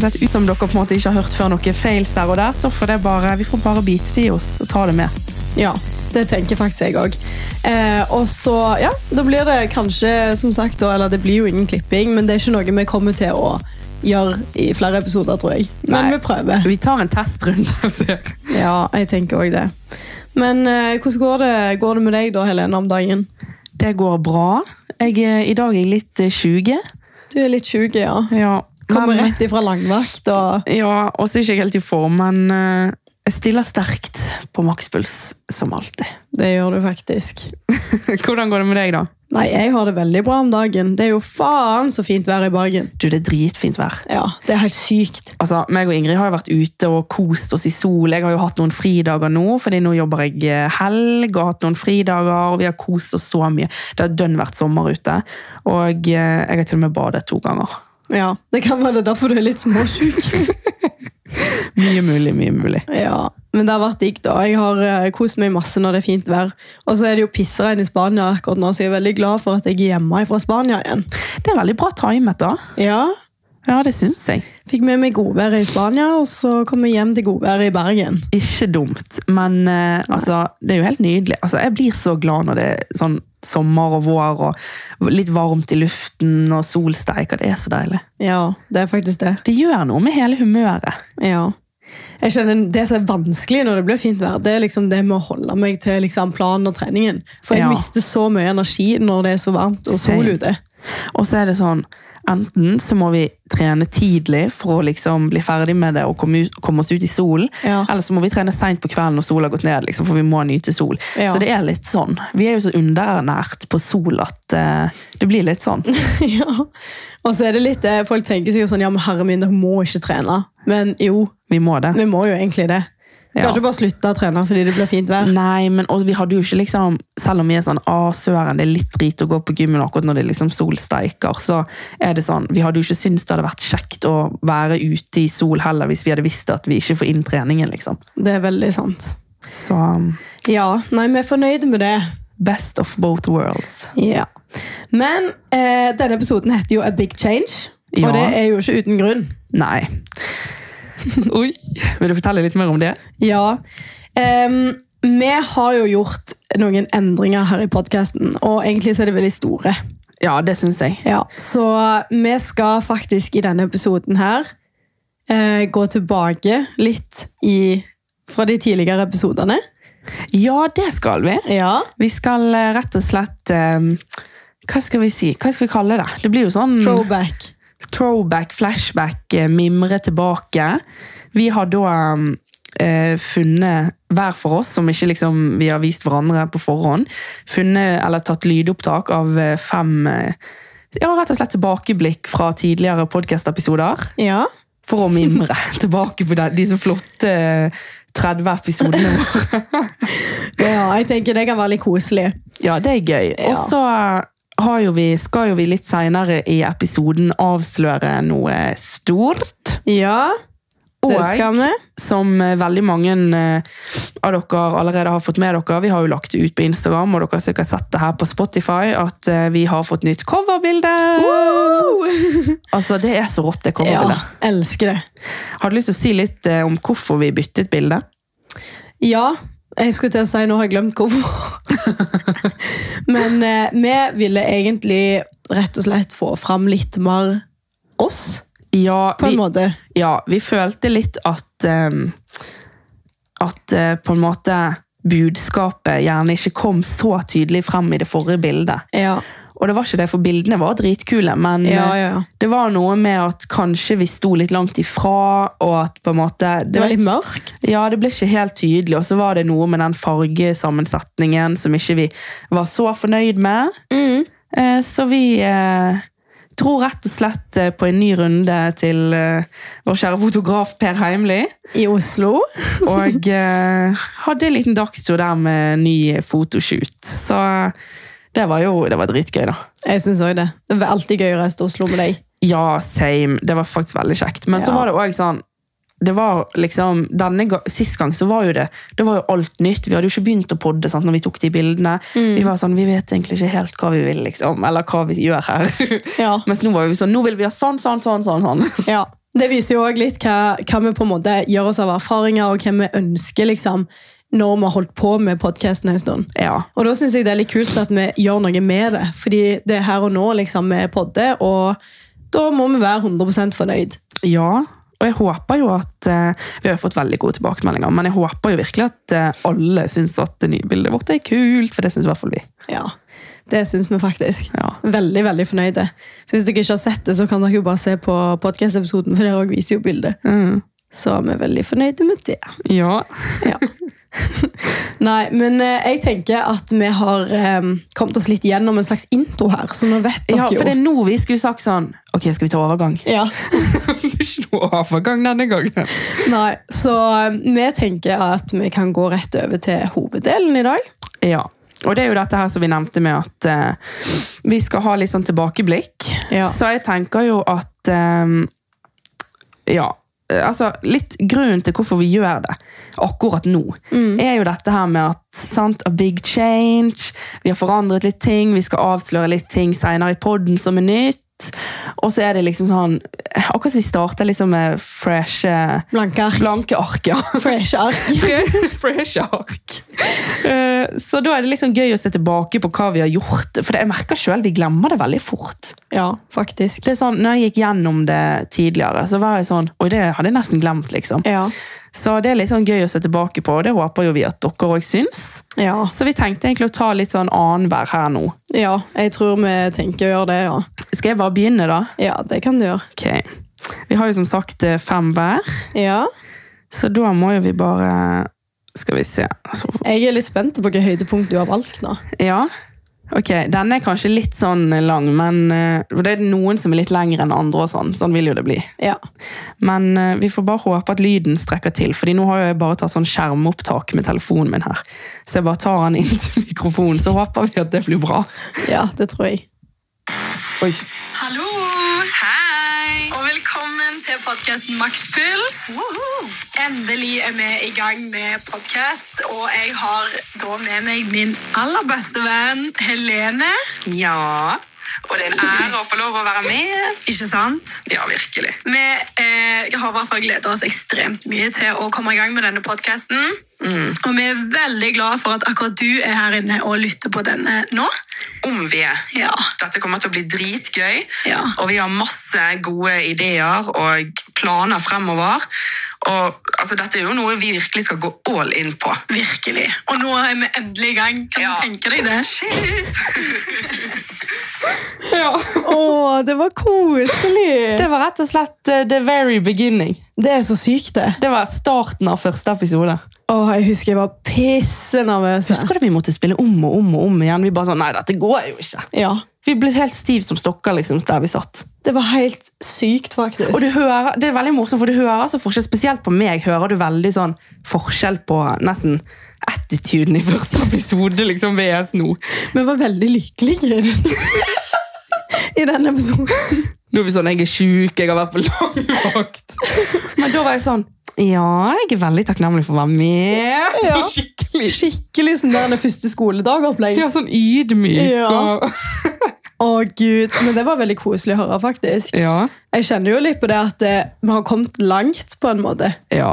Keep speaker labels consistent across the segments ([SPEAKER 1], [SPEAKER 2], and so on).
[SPEAKER 1] sett ut som dere på en måte ikke har hørt før noen fails her og der, så får det bare, vi får bare bite det i oss og ta det med.
[SPEAKER 2] Ja, det tenker faktisk jeg òg. Eh, og så, ja, da blir det kanskje, som sagt, da, eller det blir jo ingen klipping, men det er ikke noe vi kommer til å gjøre i flere episoder, tror jeg. Men
[SPEAKER 1] Nei.
[SPEAKER 2] vi prøver.
[SPEAKER 1] Vi tar en testrunde og ser.
[SPEAKER 2] Ja, jeg tenker òg det. Men eh, hvordan går det, går det med deg da, Helene, om dagen?
[SPEAKER 1] Det går bra. Jeg, er- I dag er jeg litt eh, 20.
[SPEAKER 2] Du er litt sjuk, ja.
[SPEAKER 1] Ja,
[SPEAKER 2] Kommer
[SPEAKER 1] men-
[SPEAKER 2] rett ifra langvakt og
[SPEAKER 1] Ja, og så er jeg ikke helt i form, men eh, jeg stiller sterkt på makspuls, som alltid.
[SPEAKER 2] Det gjør du faktisk.
[SPEAKER 1] Hvordan går det med deg, da?
[SPEAKER 2] Nei, jeg har det veldig bra om dagen. Det er jo faen så fint vær i Bergen.
[SPEAKER 1] Du, det er dritfint vær.
[SPEAKER 2] Ja, det er helt sykt.
[SPEAKER 1] Altså, meg og Ingrid har jo vært ute og kost oss i sol. Jeg har jo hatt noen fridager nå, fordi nå jobber jeg eh, helg og har hatt noen fridager, og vi har kost oss så mye. Det har dønn vært sommer ute, og eh, jeg har til og med badet to ganger.
[SPEAKER 2] Ja, Det kan være det er derfor du er litt småsjuk.
[SPEAKER 1] Mye mulig, mye mulig.
[SPEAKER 2] ja, men det har vært digg, da. Jeg har eh, kost meg masse når det er fint vær. Og så er det jo pissregn i Spania akkurat nå, så jeg er veldig glad for at jeg er hjemme fra Spania igjen.
[SPEAKER 1] Det er veldig bra timet, da.
[SPEAKER 2] Ja,
[SPEAKER 1] Ja, det syns jeg.
[SPEAKER 2] Fikk med meg godværet i Spania, og så kom jeg hjem til godværet i Bergen.
[SPEAKER 1] Ikke dumt, men eh, altså, det er jo helt nydelig. Altså, jeg blir så glad når det er sånn sommer og vår, og litt varmt i luften og solsteik, og det er så deilig.
[SPEAKER 2] Ja, det er faktisk det.
[SPEAKER 1] Det gjør noe med hele humøret.
[SPEAKER 2] Ja. Jeg kjenner Det som er vanskelig når det blir fint vær, det er liksom det med å holde meg til liksom planen og treningen. For jeg
[SPEAKER 1] Ja.
[SPEAKER 2] mister så mye energi når det er så varmt og sol
[SPEAKER 1] Same.
[SPEAKER 2] ute.
[SPEAKER 1] Og så er det sånn, enten så må vi trene tidlig for å liksom bli ferdig med det og komme, ut, komme oss ut i solen,
[SPEAKER 2] Ja.
[SPEAKER 1] eller så må vi trene sent på kvelden når solen har gått ned, liksom, for vi må nyte sol.
[SPEAKER 2] Ja.
[SPEAKER 1] Så det er litt sånn. Vi er jo så underernært på sol at eh, det blir litt sånn.
[SPEAKER 2] ja. Og så er det litt det folk tenker sikkert sånn Ja, men herre min, dere må ikke trene. Men jo,
[SPEAKER 1] Vi må det.
[SPEAKER 2] vi må jo egentlig det. Vi kan
[SPEAKER 1] Ja.
[SPEAKER 2] ikke bare slutte å trene fordi det blir fint vær.
[SPEAKER 1] Nei, men og vi hadde jo ikke liksom Selv om vi er sånn, ah, søren, det er litt drit å gå på gymmen akkurat når det liksom solsteiker, så er det sånn, vi hadde jo ikke syntes det hadde vært kjekt å være ute i sol heller, hvis vi hadde visst at vi ikke får inn treningen, liksom.
[SPEAKER 2] Det er veldig sant.
[SPEAKER 1] Så um,
[SPEAKER 2] Ja. Nei, vi er fornøyde med det.
[SPEAKER 1] best of both worlds.
[SPEAKER 2] Ja. Men eh, denne episoden heter jo A Big Change,
[SPEAKER 1] Ja.
[SPEAKER 2] og det er jo ikke uten grunn.
[SPEAKER 1] Nei. Oi, vil du fortelle litt mer om det?
[SPEAKER 2] Ja. Em, vi har jo gjort noen endringer her i podkasten, og egentlig så er det veldig store.
[SPEAKER 1] Ja, det synes jeg.
[SPEAKER 2] Ja, Så vi skal faktisk i denne episoden her eh, gå tilbake litt i, fra de tidligere episodene.
[SPEAKER 1] Ja, det skal vi.
[SPEAKER 2] Ja.
[SPEAKER 1] Vi skal eh, rett og slett, eh, hva skal vi si? Hva skal vi kalle det? Det blir jo sånn...
[SPEAKER 2] Throwback.
[SPEAKER 1] throwback, flashback, eh, mimre tilbake. Vi har da um, eh, funnet hver for oss, som ikke liksom vi har vist hverandre på forhånd, funnet eller tatt lydopptak av eh, fem eh, ja, rett og slett tilbakeblikk fra tidligere podcast-episoder,
[SPEAKER 2] Ja.
[SPEAKER 1] for å mimre tilbake på de, disse flotte eh, 30 episodene våre.
[SPEAKER 2] ja, jeg tenker det kan være litt koselig.
[SPEAKER 1] Ja, det er gøy.
[SPEAKER 2] Ja.
[SPEAKER 1] Og så har jo vi, skal jo vi litt senere i episoden avsløre noe stort.
[SPEAKER 2] Ja, det
[SPEAKER 1] Og-
[SPEAKER 2] skal vi.
[SPEAKER 1] som eh, veldig mange eh, av dere allerede har fått med dere. Vi har jo lagt det ut på Instagram, og dere har sikkert sett det her på Spotify, at eh, vi har fått nytt coverbilde! Altså, det er så rått, det
[SPEAKER 2] Uh. Ja,
[SPEAKER 1] coverbildet.
[SPEAKER 2] elsker det.
[SPEAKER 1] Har du lyst til å si litt eh, om hvorfor vi byttet bilde?
[SPEAKER 2] Ja, jeg skulle til å si nå har jeg glemt hvorfor. Men eh, vi ville egentlig rett og slett få fram litt mer oss,
[SPEAKER 1] Ja,
[SPEAKER 2] på en
[SPEAKER 1] vi,
[SPEAKER 2] måte.
[SPEAKER 1] ja, vi følte litt at eh, At eh, på en måte budskapet gjerne ikke kom så tydelig frem i det forrige bildet.
[SPEAKER 2] Ja,
[SPEAKER 1] Og det var ikke det, for bildene var dritkule, men
[SPEAKER 2] ja,
[SPEAKER 1] eh,
[SPEAKER 2] ja. ja.
[SPEAKER 1] Det var noe med at kanskje vi sto litt langt ifra, og at på en måte
[SPEAKER 2] Det var litt
[SPEAKER 1] ikke-
[SPEAKER 2] mørkt.
[SPEAKER 1] Ja, det ble ikke helt tydelig, og så var det noe med den fargesammensetningen som ikke vi var så fornøyd med.
[SPEAKER 2] Mm.
[SPEAKER 1] Eh, Så vi eh, dro rett og slett eh, på en ny runde til eh, vår kjære fotograf Per Heimly,
[SPEAKER 2] I Oslo.
[SPEAKER 1] og eh, hadde en liten dagstur der med ny fotoshoot. Så eh, det var jo det var dritgøy, da.
[SPEAKER 2] Jeg syns òg det. Det var alltid gøy å reise til Oslo med deg.
[SPEAKER 1] Ja, same. Det var faktisk veldig kjekt. Men så
[SPEAKER 2] Ja.
[SPEAKER 1] var det òg sånn det var liksom, denne ga- Sist gang så var jo det det var jo alt nytt. Vi hadde jo ikke begynt å podde sant, når vi tok de bildene. Vi var sånn, vi vet egentlig ikke helt hva vi vil, liksom, eller hva vi gjør her.
[SPEAKER 2] Ja.
[SPEAKER 1] Mens nå var vi sånn, nå vil vi ha sånn, sånn, sånn. sånn, sånn.
[SPEAKER 2] Ja. Det viser jo òg litt hva, hva vi på en måte gjør oss av erfaringer, og hva vi ønsker liksom, når vi har holdt på med podkasten en stund.
[SPEAKER 1] Ja.
[SPEAKER 2] Og da syns jeg det er litt kult at vi gjør noe med det. Fordi det er her og nå liksom, vi podder, og da må vi være 100 fornøyd.
[SPEAKER 1] ja. Og jeg håper jo at eh, Vi har jo fått veldig gode tilbakemeldinger, men jeg håper jo virkelig at eh, alle syns at det nye bildet vårt er kult, for det syns i hvert fall vi.
[SPEAKER 2] Ja, Det syns vi faktisk.
[SPEAKER 1] Ja.
[SPEAKER 2] Veldig veldig fornøyde. Så Hvis dere ikke har sett det, så kan dere jo bare se på podkast-episoden, for dere også viser jo bildet.
[SPEAKER 1] Mm.
[SPEAKER 2] Så vi er veldig fornøyde med det.
[SPEAKER 1] Ja.
[SPEAKER 2] Ja. Nei, men eh, jeg tenker at vi har eh, kommet oss litt gjennom en slags intro her, så nå vet dere
[SPEAKER 1] ja,
[SPEAKER 2] jo.
[SPEAKER 1] for det er nå vi skulle sagt sånn Ok, skal vi ta overgang?
[SPEAKER 2] Ja.
[SPEAKER 1] Ikke noe overgang denne gangen.
[SPEAKER 2] Nei, så eh, vi tenker at vi kan gå rett over til hoveddelen i dag.
[SPEAKER 1] Ja. Og det er jo dette her som vi nevnte med at eh, vi skal ha litt sånn tilbakeblikk.
[SPEAKER 2] Ja.
[SPEAKER 1] Så jeg tenker jo at eh, Ja. eh, Altså, litt grunnen til hvorfor vi gjør det akkurat nå, er jo dette her med at sant, a big change. Vi har forandret litt ting, vi skal avsløre litt ting seinere i poden som er nytt. Og så er det liksom sånn Akkurat som vi starter liksom med fresh eh,
[SPEAKER 2] Blanke ark.
[SPEAKER 1] Blanke ark, ja.
[SPEAKER 2] Fresh ark.
[SPEAKER 1] Fre- Fresh ark. Eh, Så da er det liksom gøy å se tilbake på hva vi har gjort. For jeg merker selv, vi glemmer det veldig fort.
[SPEAKER 2] Ja, faktisk.
[SPEAKER 1] Det er sånn, når jeg gikk gjennom det tidligere, så var jeg sånn Oi, det hadde jeg nesten glemt, liksom.
[SPEAKER 2] Ja.
[SPEAKER 1] Så det er litt sånn gøy å se tilbake på, og det håper jo vi at dere òg syns.
[SPEAKER 2] Ja.
[SPEAKER 1] Så vi tenkte egentlig å ta litt sånn annenhver her nå.
[SPEAKER 2] ja, jeg tror vi tenker å gjøre det, ja.
[SPEAKER 1] Skal jeg bare begynne, da?
[SPEAKER 2] Ja, det kan du gjøre.
[SPEAKER 1] Ok. Vi har jo som sagt eh, fem hver,
[SPEAKER 2] Ja.
[SPEAKER 1] så da må jo vi bare Skal vi se. Så
[SPEAKER 2] Jeg er litt spent på hvilket høydepunkt du har valgt nå.
[SPEAKER 1] Ja. Ok, Denne er kanskje litt sånn lang, men eh, for det er noen som er litt lengre enn andre. og Sånn Sånn vil jo det bli.
[SPEAKER 2] Ja.
[SPEAKER 1] Men eh, vi får bare håpe at lyden strekker til, Fordi nå har jo jeg bare tatt sånn skjermopptak med telefonen min her. Så jeg bare tar den inn til mikrofonen, så håper vi at det blir bra.
[SPEAKER 2] ja, det tror jeg.
[SPEAKER 1] Oi.
[SPEAKER 3] Hallo! Hei! Og velkommen til podkasten Makspuls. Endelig er vi i gang med podkast, og jeg har da med meg min aller beste venn Helene.
[SPEAKER 4] Ja, og det er en ære å få lov å være med.
[SPEAKER 3] Ikke sant?
[SPEAKER 4] Ja, virkelig.
[SPEAKER 3] Vi eh, har i hvert fall gledet oss ekstremt mye til å komme i gang med denne podkasten. Og vi er veldig glad for at akkurat du er her inne og lytter på denne nå.
[SPEAKER 4] Om vi er.
[SPEAKER 3] Ja.
[SPEAKER 4] Dette kommer til å bli dritgøy,
[SPEAKER 3] Ja.
[SPEAKER 4] og vi har masse gode ideer og planer fremover. Og altså, dette er jo noe vi virkelig skal gå all in på.
[SPEAKER 3] Virkelig. Og nå er vi endelig i gang. Kan
[SPEAKER 4] Ja.
[SPEAKER 3] du tenke deg det?
[SPEAKER 4] Shit!
[SPEAKER 2] Å, det var koselig!
[SPEAKER 1] Det var rett og slett eh, the very beginning.
[SPEAKER 2] Det er så sykt, det.
[SPEAKER 1] Det var starten av første episode.
[SPEAKER 2] Åh, jeg husker jeg var pissenervøs.
[SPEAKER 1] Husker du vi måtte spille om og om og om igjen? Vi bare sånn, nei, dette går jo ikke.
[SPEAKER 2] Ja.
[SPEAKER 1] Vi ble helt stiv som stokker liksom, der vi satt.
[SPEAKER 2] Det var helt sykt, faktisk.
[SPEAKER 1] Og du hører, det er veldig morsomt, for du hører altså forskjell, spesielt på meg, hører du veldig sånn forskjell på nesten attituden i første episode, liksom VS nå.
[SPEAKER 2] Vi var veldig lykkelige i den, i den episoden.
[SPEAKER 1] Nå er vi sånn, jeg er syk, jeg har vært på langvakt. Men da var jeg sånn, ja, jeg er veldig takknemlig for å være med.
[SPEAKER 2] Ja.
[SPEAKER 1] Sånn skikkelig.
[SPEAKER 2] Skikkelig sånn der den første skoledag-opplegg.
[SPEAKER 1] Ja, sånn ydmyk.
[SPEAKER 2] Ja.
[SPEAKER 1] Og,
[SPEAKER 2] Å, Gud. Men det var veldig koselig å høre, faktisk.
[SPEAKER 1] ja.
[SPEAKER 2] Jeg kjenner jo litt på det at eh, vi har kommet langt, på en måte.
[SPEAKER 1] ja.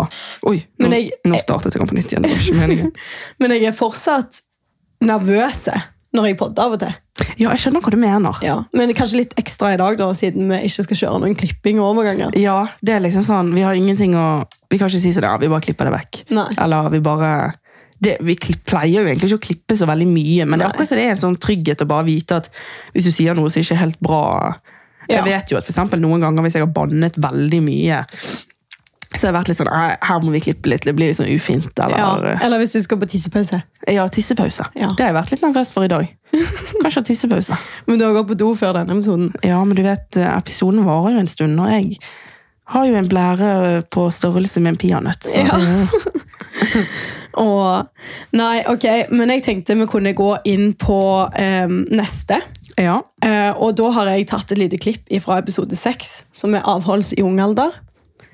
[SPEAKER 1] Oi,
[SPEAKER 2] Men
[SPEAKER 1] nå,
[SPEAKER 2] jeg-
[SPEAKER 1] nå startet jeg på nytt igjen, det var ikke meningen.
[SPEAKER 2] Men jeg er fortsatt nervøse når jeg podder av og til.
[SPEAKER 1] Ja, jeg skjønner hva du mener.
[SPEAKER 2] Ja. Men kanskje litt ekstra i dag, da, siden vi ikke skal kjøre noen klipping og overganger.
[SPEAKER 1] Ja, det er liksom sånn, vi har ingenting å Vi kan ikke si sånn, ja, vi bare klipper det vekk.
[SPEAKER 2] Nei.
[SPEAKER 1] Eller vi bare det, Vi klipp, pleier jo egentlig ikke å klippe så veldig mye, men det er akkurat som det er en sånn trygghet å bare vite at hvis du sier noe som ikke er helt bra
[SPEAKER 2] Ja.
[SPEAKER 1] Jeg vet jo at for eksempel noen ganger hvis jeg har bannet veldig mye, så har jeg vært litt sånn «Nei, Her må vi klippe litt, det blir litt sånn ufint.
[SPEAKER 2] Ja.
[SPEAKER 1] Eller ja,
[SPEAKER 2] Eller hvis du skal på tissepause.
[SPEAKER 1] tissepause.
[SPEAKER 2] Ja.
[SPEAKER 1] Det har jeg vært litt nervøs for i dag. Kanskje ha tissepause.
[SPEAKER 2] Men du har gått på do før denne episoden.
[SPEAKER 1] Ja, men du vet, eh, episoden varer jo en stund, og jeg har jo en blære eh, på størrelse med en peanøtt. så
[SPEAKER 2] Ja.
[SPEAKER 1] det er jo-
[SPEAKER 2] Åh. Nei, ok, men jeg tenkte vi kunne gå inn på em, neste.
[SPEAKER 1] ja.
[SPEAKER 2] Eh, og da har jeg tatt et lite klipp fra episode 6, som er avholds i ung alder.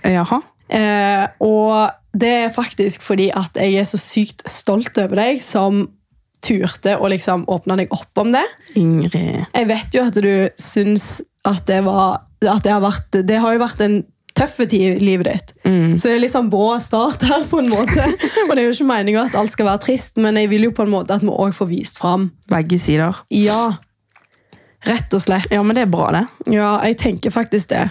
[SPEAKER 1] Jaha.
[SPEAKER 2] Eh, og det er faktisk fordi at jeg er så sykt stolt over deg som turte å liksom åpne deg opp om det.
[SPEAKER 1] Ingrid.
[SPEAKER 2] Jeg vet jo at du syns at det var at det har vært Det har jo vært en tøffe tid i livet ditt. Så det er litt sånn brå start her, på en måte. og det er jo ikke meninga at alt skal være trist, men jeg vil jo på en måte at vi òg får vist fram.
[SPEAKER 1] Begge sider.
[SPEAKER 2] Ja. Rett og slett.
[SPEAKER 1] Ja, men det er bra, det.
[SPEAKER 2] Ja, jeg tenker faktisk det.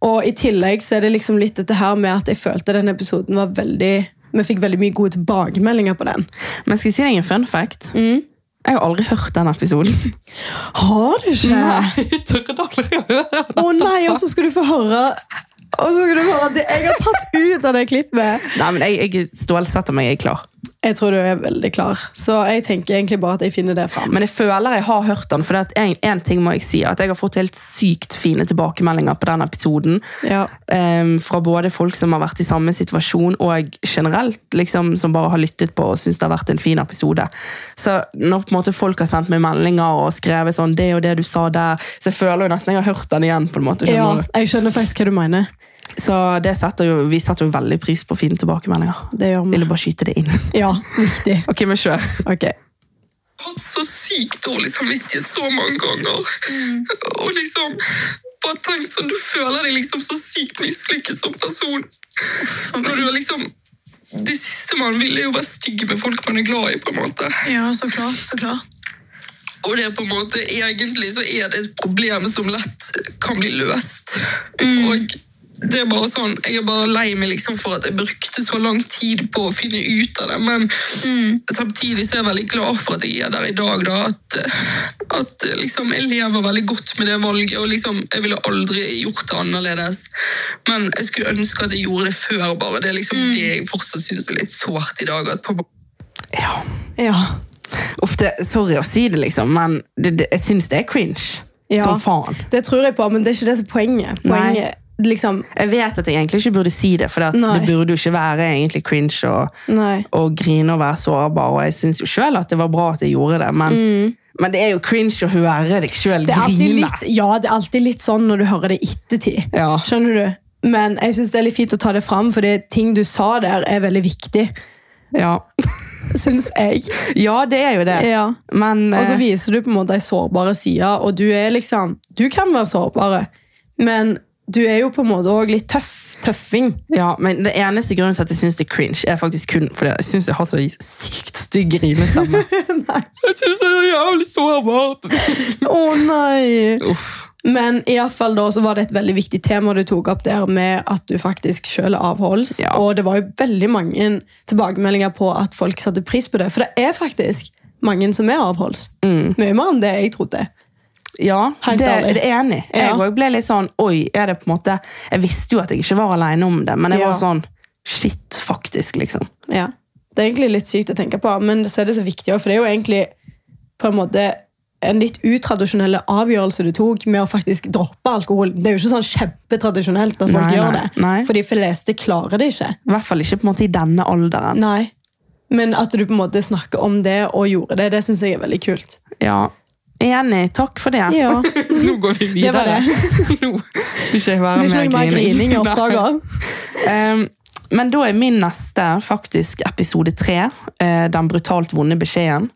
[SPEAKER 2] Og i tillegg så er det liksom litt dette her med at jeg følte den episoden var veldig Vi fikk veldig mye gode tilbakemeldinger på den.
[SPEAKER 1] Men skal jeg si deg en fun fact? Jeg har aldri hørt den episoden.
[SPEAKER 2] Har du ikke?
[SPEAKER 1] jeg tør aldri å høre
[SPEAKER 2] Å nei, og så skal du få høre Og så skal du høre at jeg har tatt ut av det klippet.
[SPEAKER 1] Nei, men jeg, jeg stålsetter meg, jeg er klar.
[SPEAKER 2] Jeg tror du er veldig klar, så jeg tenker egentlig bare at jeg finner det fram.
[SPEAKER 1] Men jeg føler jeg har hørt den, for det at en, en ting må jeg si, at jeg har fått helt sykt fine tilbakemeldinger på den episoden.
[SPEAKER 2] Ja.
[SPEAKER 1] Ehm, fra både folk som har vært i samme situasjon, og generelt liksom, som bare har lyttet på og syns det har vært en fin episode. Så når på en måte, folk har sendt meg meldinger og skrevet sånn, det og det du sa der, så jeg føler jo nesten jeg har hørt den igjen. på en måte.
[SPEAKER 2] ja,
[SPEAKER 1] skjønner du?
[SPEAKER 2] jeg skjønner faktisk hva du mener.
[SPEAKER 1] Så det setter jo, vi setter jo veldig pris på fine tilbakemeldinger.
[SPEAKER 2] Det gjør vi.
[SPEAKER 1] Ville bare skyte det inn.
[SPEAKER 2] Ja, viktig.
[SPEAKER 1] Ok, men kjør.
[SPEAKER 2] Ok.
[SPEAKER 4] hatt så sykt dårlig samvittighet så mange ganger. Og liksom bare tenkt sånn, du føler deg liksom så sykt mislykket som person. Når du er liksom Det siste man vil, er jo å være stygg med folk man er glad i, på en måte.
[SPEAKER 3] Ja, så klart. Så klart.
[SPEAKER 4] Og det er på en måte Egentlig så er det et problem som lett kan bli løst. Og det er bare sånn, Jeg er bare lei meg liksom for at jeg brukte så lang tid på å finne ut av det. Men samtidig så er jeg veldig glad for at jeg er der i dag. da, At, eh, at eh, liksom, jeg lever veldig godt med det valget. og liksom, Jeg ville aldri gjort det annerledes. Men jeg skulle ønske at jeg gjorde det før. bare. Det er liksom det jeg fortsatt syns er litt sårt i dag. at på
[SPEAKER 1] Ja.
[SPEAKER 2] Ja.
[SPEAKER 1] Ofte, sorry å si det, liksom, men det, det, jeg syns det er cringe.
[SPEAKER 2] Ja.
[SPEAKER 1] Som faen.
[SPEAKER 2] Det tror jeg på, men det er ikke det som er poenget.
[SPEAKER 1] Nei.
[SPEAKER 2] Poenget, liksom,
[SPEAKER 1] Jeg vet at jeg egentlig ikke burde si det, for det,
[SPEAKER 2] Nei.
[SPEAKER 1] det burde jo ikke være egentlig cringe å,
[SPEAKER 2] Nei.
[SPEAKER 1] å grine og være sårbar, og jeg syns jo sjøl at det var bra at jeg gjorde det, men, men det er jo cringe å høre deg sjøl
[SPEAKER 2] Mm. Det er alltid
[SPEAKER 1] grine.
[SPEAKER 2] litt, ja, det er alltid litt sånn når du hører det i ettertid.
[SPEAKER 1] Ja.
[SPEAKER 2] Skjønner du? Men jeg synes det er litt fint å ta det fram, for det ting du sa der er veldig viktig,
[SPEAKER 1] Ja.
[SPEAKER 2] synes jeg.
[SPEAKER 1] ja, det er jo det,
[SPEAKER 2] Ja.
[SPEAKER 1] men
[SPEAKER 2] Og så
[SPEAKER 1] eh,
[SPEAKER 2] viser du på en måte en sårbare side, og du er liksom, du kan være sårbare, men du er jo på en måte også litt tøff, tøffing.
[SPEAKER 1] Ja, men det eneste grunnen til at jeg syns det er cringe, er faktisk kun fordi jeg syns jeg har så sykt stygg rimestemme. jeg syns det er jævlig sårbart.
[SPEAKER 2] Å nei!
[SPEAKER 1] Uff.
[SPEAKER 2] Men i alle fall da, så var det et veldig viktig tema du tok opp der med at du faktisk selv er avholds.
[SPEAKER 1] Ja.
[SPEAKER 2] Og det var jo veldig mange tilbakemeldinger på at folk satte pris på det. For det er faktisk mange som er avholds.
[SPEAKER 1] Mm.
[SPEAKER 2] Mye mer enn det jeg trodde.
[SPEAKER 1] Ja,
[SPEAKER 2] Helt
[SPEAKER 1] det,
[SPEAKER 2] ærlig.
[SPEAKER 1] det er jeg enig. i.
[SPEAKER 2] Ja.
[SPEAKER 1] Jeg òg ble litt sånn Oi, er det på en måte Jeg visste jo at jeg ikke var alene om det, men jeg
[SPEAKER 2] Ja.
[SPEAKER 1] var sånn Shit, faktisk, liksom.
[SPEAKER 2] Ja. Det er egentlig litt sykt å tenke på, men så er det så viktig også, for det er jo egentlig på en måte en litt utradisjonell avgjørelse du tok med å faktisk droppe alkohol. Det er jo ikke sånn kjempetradisjonelt at folk
[SPEAKER 1] Nei,
[SPEAKER 2] gjør
[SPEAKER 1] nei,
[SPEAKER 2] det.
[SPEAKER 1] nei.
[SPEAKER 2] For de fleste klarer det ikke.
[SPEAKER 1] I hvert fall ikke på en måte i denne alderen.
[SPEAKER 2] Nei. Men at du på en måte snakker om det og gjorde det, det syns jeg er veldig kult.
[SPEAKER 1] Ja, Enig. Takk for det.
[SPEAKER 2] Ja.
[SPEAKER 1] Nå går vi
[SPEAKER 2] Det var
[SPEAKER 1] videre. Nå vil ikke jeg
[SPEAKER 2] Det
[SPEAKER 1] være
[SPEAKER 2] blir ikke
[SPEAKER 1] med
[SPEAKER 2] noe mer grining
[SPEAKER 1] Nei.
[SPEAKER 2] i oppdraget.
[SPEAKER 1] Ehm, men da er min neste faktisk episode tre. eh, den brutalt vonde beskjeden.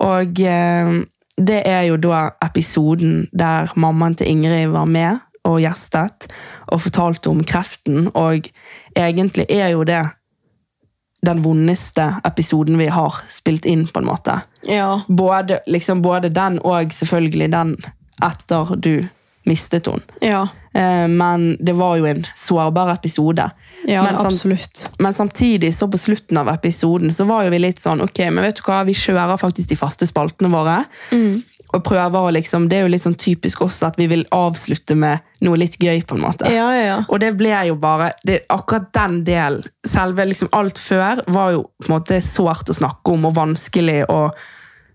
[SPEAKER 1] Og ehm, det er jo da episoden der mammaen til Ingrid var med og gjestet og fortalte om kreften, og egentlig er jo det den vondeste episoden vi har spilt inn, på en måte.
[SPEAKER 2] Ja.
[SPEAKER 1] Både, liksom, både den og selvfølgelig den etter du mistet henne.
[SPEAKER 2] Ja.
[SPEAKER 1] Eh, Men det var jo en sårbar episode.
[SPEAKER 2] ja
[SPEAKER 1] men, sånn- sam
[SPEAKER 2] absolutt.
[SPEAKER 1] men samtidig, så på slutten av episoden, så var jo vi litt sånn Ok, men vet du hva, vi kjører faktisk de faste spaltene våre.
[SPEAKER 2] Mm.
[SPEAKER 1] Og prøver å liksom Det er jo litt sånn typisk også at vi vil avslutte med noe litt gøy, på en måte.
[SPEAKER 2] Ja, ja, ja.
[SPEAKER 1] Og det ble jo bare det, Akkurat den delen, selve liksom alt før, var jo på en måte sårt å snakke om og vanskelig og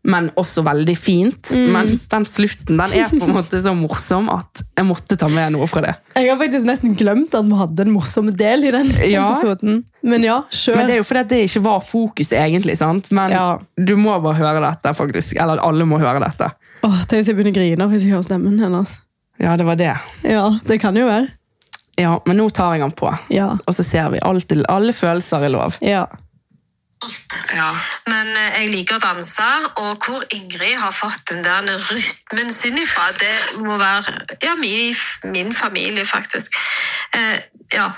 [SPEAKER 1] men også veldig fint.
[SPEAKER 2] Mm.
[SPEAKER 1] Mens den slutten den er på en måte så morsom at jeg måtte ta med noe fra det.
[SPEAKER 2] Jeg har faktisk nesten glemt at vi hadde en morsom del i den
[SPEAKER 1] Ja.
[SPEAKER 2] episoden. Men ja, kjør.
[SPEAKER 1] Men det er jo fordi at det ikke var fokus egentlig, sant? Men
[SPEAKER 2] Ja.
[SPEAKER 1] du må bare høre dette, faktisk. Eller alle må høre dette.
[SPEAKER 2] Åh, Tenk hvis jeg begynner å grine hvis jeg hører stemmen hennes.
[SPEAKER 1] Ja, det var det.
[SPEAKER 2] Ja, Det kan jo være.
[SPEAKER 1] Ja, men nå tar jeg den på.
[SPEAKER 2] Ja.
[SPEAKER 1] Og så ser vi. Alt, alle følelser er lov.
[SPEAKER 2] ja.
[SPEAKER 4] Ja.
[SPEAKER 3] Men eh, jeg liker å danse, og hvor Ingrid har fått den der rytmen sin ifra, det må være ja, min, min familie, faktisk. Eh, ja.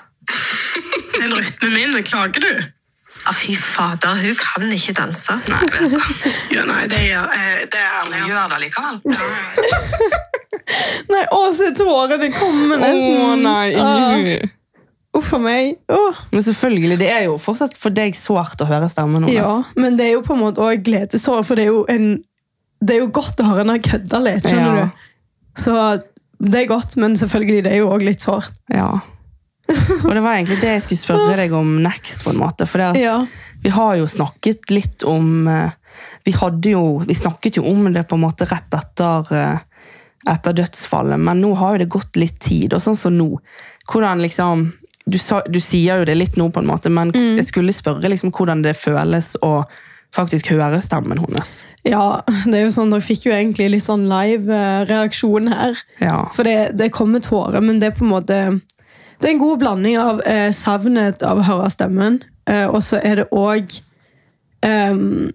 [SPEAKER 4] Den rytmen min, klager du?
[SPEAKER 3] ja, fy fader, hun kan ikke danse.
[SPEAKER 4] Nei, vet du. Jo, nei, det gjør eh, det er ærlig. altså.
[SPEAKER 5] Gjør det likevel.
[SPEAKER 2] Nei, å, se tårene kommer
[SPEAKER 1] Å
[SPEAKER 2] nesten.
[SPEAKER 1] nei,
[SPEAKER 2] Ah.
[SPEAKER 1] Ingrid.
[SPEAKER 2] Å, Uff a meg. Åh.
[SPEAKER 1] Men selvfølgelig, det er jo fortsatt for deg sårt å høre stemmen hennes.
[SPEAKER 2] Ja, men det er jo på en måte òg gledestårer, for det er jo en det er jo godt å høre henne kødde litt. skjønner
[SPEAKER 1] Ja.
[SPEAKER 2] du? Så det er godt, men selvfølgelig, det er jo òg litt sårt.
[SPEAKER 1] Ja. Og det var egentlig det jeg skulle spørre deg om next, på en måte. For det at
[SPEAKER 2] Ja.
[SPEAKER 1] vi har jo snakket litt om eh, vi, hadde jo, vi snakket jo om det på en måte rett etter, eh, etter dødsfallet, men nå har jo det gått litt tid, og sånn som nå. Hvordan liksom Du, sa, du sier jo det litt nå, på en måte, men
[SPEAKER 2] Mm.
[SPEAKER 1] jeg skulle spørre liksom hvordan det føles å faktisk høre stemmen hennes.
[SPEAKER 2] Ja, det er jo sånn, Dere fikk jo egentlig litt sånn live eh, reaksjon her.
[SPEAKER 1] Ja.
[SPEAKER 2] For det, det kommer tårer, men det er på en måte Det er en god blanding av eh, savnet av å høre stemmen, eh, og så er det òg ehm,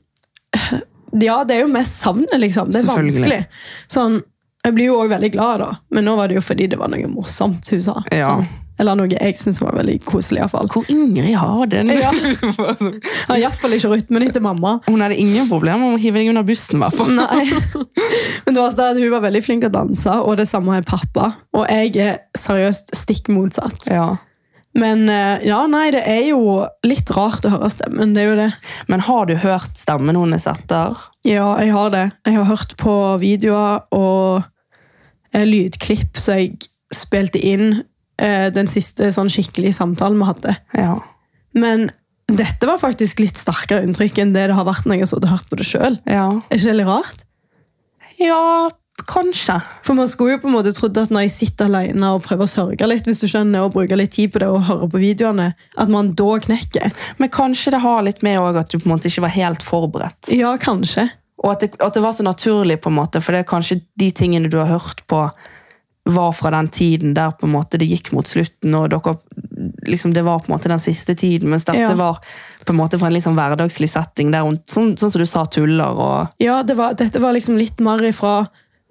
[SPEAKER 2] Ja, det er jo mest savnet, liksom. Det er vanskelig.
[SPEAKER 1] Selvfølgelig.
[SPEAKER 2] Sånn, jeg blir jo òg veldig glad, da. Men nå var det jo fordi det var noe morsomt hun sa.
[SPEAKER 1] Ja.
[SPEAKER 2] sant? Eller noe jeg syns var veldig koselig, iallfall.
[SPEAKER 1] Hvor Ingrid har den!
[SPEAKER 2] Ja. Har iallfall ikke rytmen etter mamma.
[SPEAKER 1] Hun hadde ingen problemer med å hive deg under bussen, i hvert fall.
[SPEAKER 2] Nei. Men det var sånn at hun var veldig flink til å danse, og det samme er pappa. Og jeg er seriøst stikk motsatt.
[SPEAKER 1] Ja.
[SPEAKER 2] Men eh, ja, nei, det er jo litt rart å høre stemmen. Det er jo det.
[SPEAKER 1] Men har du hørt stemmen hennes etter?
[SPEAKER 2] Ja, jeg har det. Jeg har hørt på videoer og eh, lydklipp som jeg spilte inn eh, den siste sånn skikkelige samtalen vi hadde.
[SPEAKER 1] Ja.
[SPEAKER 2] Men dette var faktisk litt sterkere inntrykk enn det det har vært når jeg har sittet og hørt på det sjøl.
[SPEAKER 1] Ja,
[SPEAKER 2] Er ikke det litt rart?
[SPEAKER 1] ja kanskje.
[SPEAKER 2] For man skulle jo på en måte trodd at når jeg sitter alene og prøver å sørge litt, hvis du skjønner, og bruker litt tid på det og hører på videoene, at man da knekker.
[SPEAKER 1] Men kanskje det har litt med også at du på en måte ikke var helt forberedt.
[SPEAKER 2] Ja, kanskje.
[SPEAKER 1] Og at det, at det var så naturlig, på en måte, for det er kanskje de tingene du har hørt på, var fra den tiden der på en måte det gikk mot slutten, og dere, liksom det var på en måte den siste tiden, mens dette
[SPEAKER 2] Ja.
[SPEAKER 1] var på en måte fra en litt sånn hverdagslig setting, der hun, sånn, sånn som du sa, tuller og
[SPEAKER 2] Ja, det var, dette var liksom litt mer ifra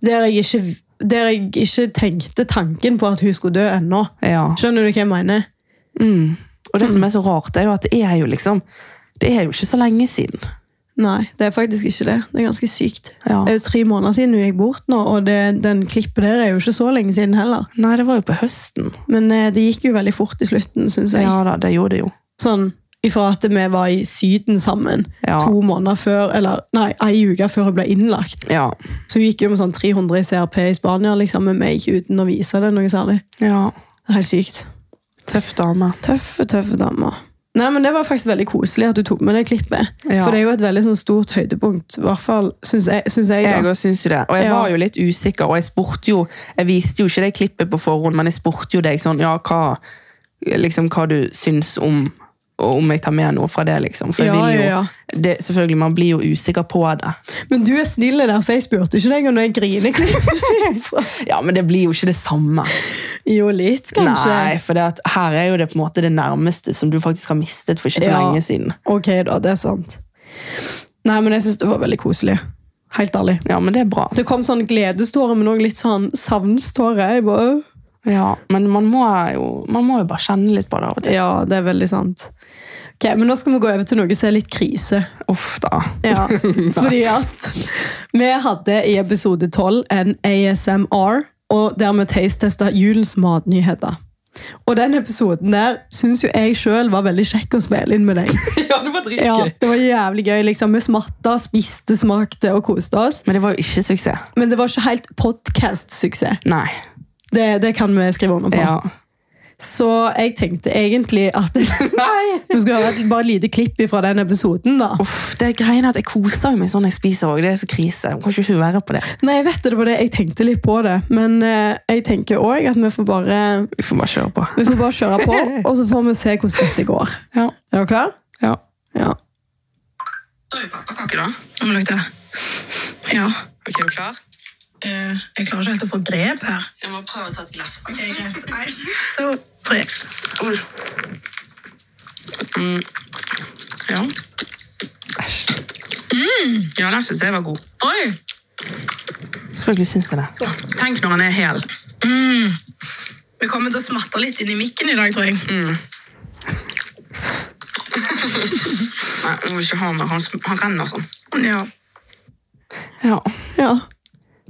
[SPEAKER 2] der jeg ikke, der jeg ikke tenkte tanken på at hun skulle dø ennå.
[SPEAKER 1] ja.
[SPEAKER 2] Skjønner du hva jeg mener?
[SPEAKER 1] Mm. Og det som er så rart, er jo at det er jo liksom Det er jo ikke så lenge siden.
[SPEAKER 2] Nei, det er faktisk ikke det. Det er ganske sykt.
[SPEAKER 1] Ja.
[SPEAKER 2] Det er jo tre måneder siden hun gikk bort nå, og det, den klippet der er jo ikke så lenge siden heller.
[SPEAKER 1] Nei, det var jo på høsten.
[SPEAKER 2] Men eh, det gikk jo veldig fort i slutten, synes jeg.
[SPEAKER 1] Ja da, det gjorde det jo.
[SPEAKER 2] sånn ifra at vi var i Syden sammen
[SPEAKER 1] Ja.
[SPEAKER 2] to måneder før, eller nei, ei uke før hun ble innlagt.
[SPEAKER 1] Ja.
[SPEAKER 2] Så hun gikk jo med sånn 300 i CRP i Spania liksom, med meg uten å vise det noe særlig.
[SPEAKER 1] ja.
[SPEAKER 2] Det er Helt sykt.
[SPEAKER 1] Tøff dame.
[SPEAKER 2] Tøffe, tøffe damer. Nei, men Det var faktisk veldig koselig at du tok med det klippet.
[SPEAKER 1] Ja.
[SPEAKER 2] For det er jo et veldig sånn stort høydepunkt, i hvert fall syns jeg. Synes jeg,
[SPEAKER 1] Jeg
[SPEAKER 2] da.
[SPEAKER 1] også syns jo det. Og jeg
[SPEAKER 2] Ja.
[SPEAKER 1] var jo litt usikker, og jeg spurte jo Jeg viste jo ikke det klippet på forhånd, men jeg spurte jo deg sånn Ja, hva, liksom, hva du syns om og om jeg tar med noe fra det, liksom. For jeg
[SPEAKER 2] Ja,
[SPEAKER 1] vil jo,
[SPEAKER 2] ja,
[SPEAKER 1] Det, selvfølgelig, Man blir jo usikker på det.
[SPEAKER 2] Men du er snill der, for jeg spurte ikke deg om det grineklippet.
[SPEAKER 1] Ja, Men det blir jo ikke det samme.
[SPEAKER 2] jo, litt, kanskje.
[SPEAKER 1] Nei, for det at, her er jo det på en måte det nærmeste som du faktisk har mistet for ikke så
[SPEAKER 2] Ja.
[SPEAKER 1] lenge siden.
[SPEAKER 2] Ok, da, det er sant. Nei, men jeg syns det var veldig koselig. Helt ærlig.
[SPEAKER 1] Ja, men det er bra.
[SPEAKER 2] Det kom sånn gledestårer, men også litt sånn savnstårer. Jeg bare, «Åh».
[SPEAKER 1] Ja, men man må, jo, man må jo bare kjenne litt på det av og til.
[SPEAKER 2] Ja, det er veldig sant. Ok, Men nå skal vi gå over til noe som er litt krise.
[SPEAKER 1] Uff da.
[SPEAKER 2] Ja, fordi at vi hadde i episode 12 en ASMR, og der vi taste-testa julens matnyheter. Og den episoden der syns jo jeg sjøl var veldig kjekk å spille inn med deg.
[SPEAKER 1] ja, det var
[SPEAKER 2] Ja, det var jævlig gøy. liksom. Vi smatta, spiste, smakte og koste oss.
[SPEAKER 1] Men det var jo ikke suksess.
[SPEAKER 2] Men det var ikke helt podkast-suksess.
[SPEAKER 1] Nei.
[SPEAKER 2] Det, det kan vi skrive under på.
[SPEAKER 1] Ja.
[SPEAKER 2] Så jeg tenkte egentlig at Vi skal høre et bare et lite klipp fra den episoden, da.
[SPEAKER 1] Uff, det er greien at jeg koser jo meg sånn når jeg spiser òg. Det er så krise. Man kan ikke være på det.
[SPEAKER 2] Nei, jeg vet det, det var det jeg tenkte litt på det. Men eh, jeg tenker òg at vi får bare
[SPEAKER 1] Vi får bare kjøre på.
[SPEAKER 2] Vi får bare kjøre på, og så får vi se hvordan dette går.
[SPEAKER 1] Ja.
[SPEAKER 2] Er dere klar?
[SPEAKER 1] ja.
[SPEAKER 2] Ja.
[SPEAKER 4] Da er jo pepperkake, da. Nå må du lukte. Ja.
[SPEAKER 5] Ok, er du klar?
[SPEAKER 4] Eh, jeg klarer ikke helt å få grep her.
[SPEAKER 5] Jeg må prøve å ta et glefs.
[SPEAKER 4] Ok, greit. En, to, tre.
[SPEAKER 5] Oi.
[SPEAKER 4] Ja.
[SPEAKER 1] Æsj.
[SPEAKER 5] Ja, den synes jeg var god. Oi!
[SPEAKER 1] Selvfølgelig syns jeg det.
[SPEAKER 5] Tenk når han er hel.
[SPEAKER 3] Mm. Vi kommer til å smatte litt inn i mikken i dag, tror jeg.
[SPEAKER 5] Nei, nå vil ikke ha mer. Han, sm- han renner sånn.
[SPEAKER 3] Ja.
[SPEAKER 1] Ja.
[SPEAKER 2] Ja.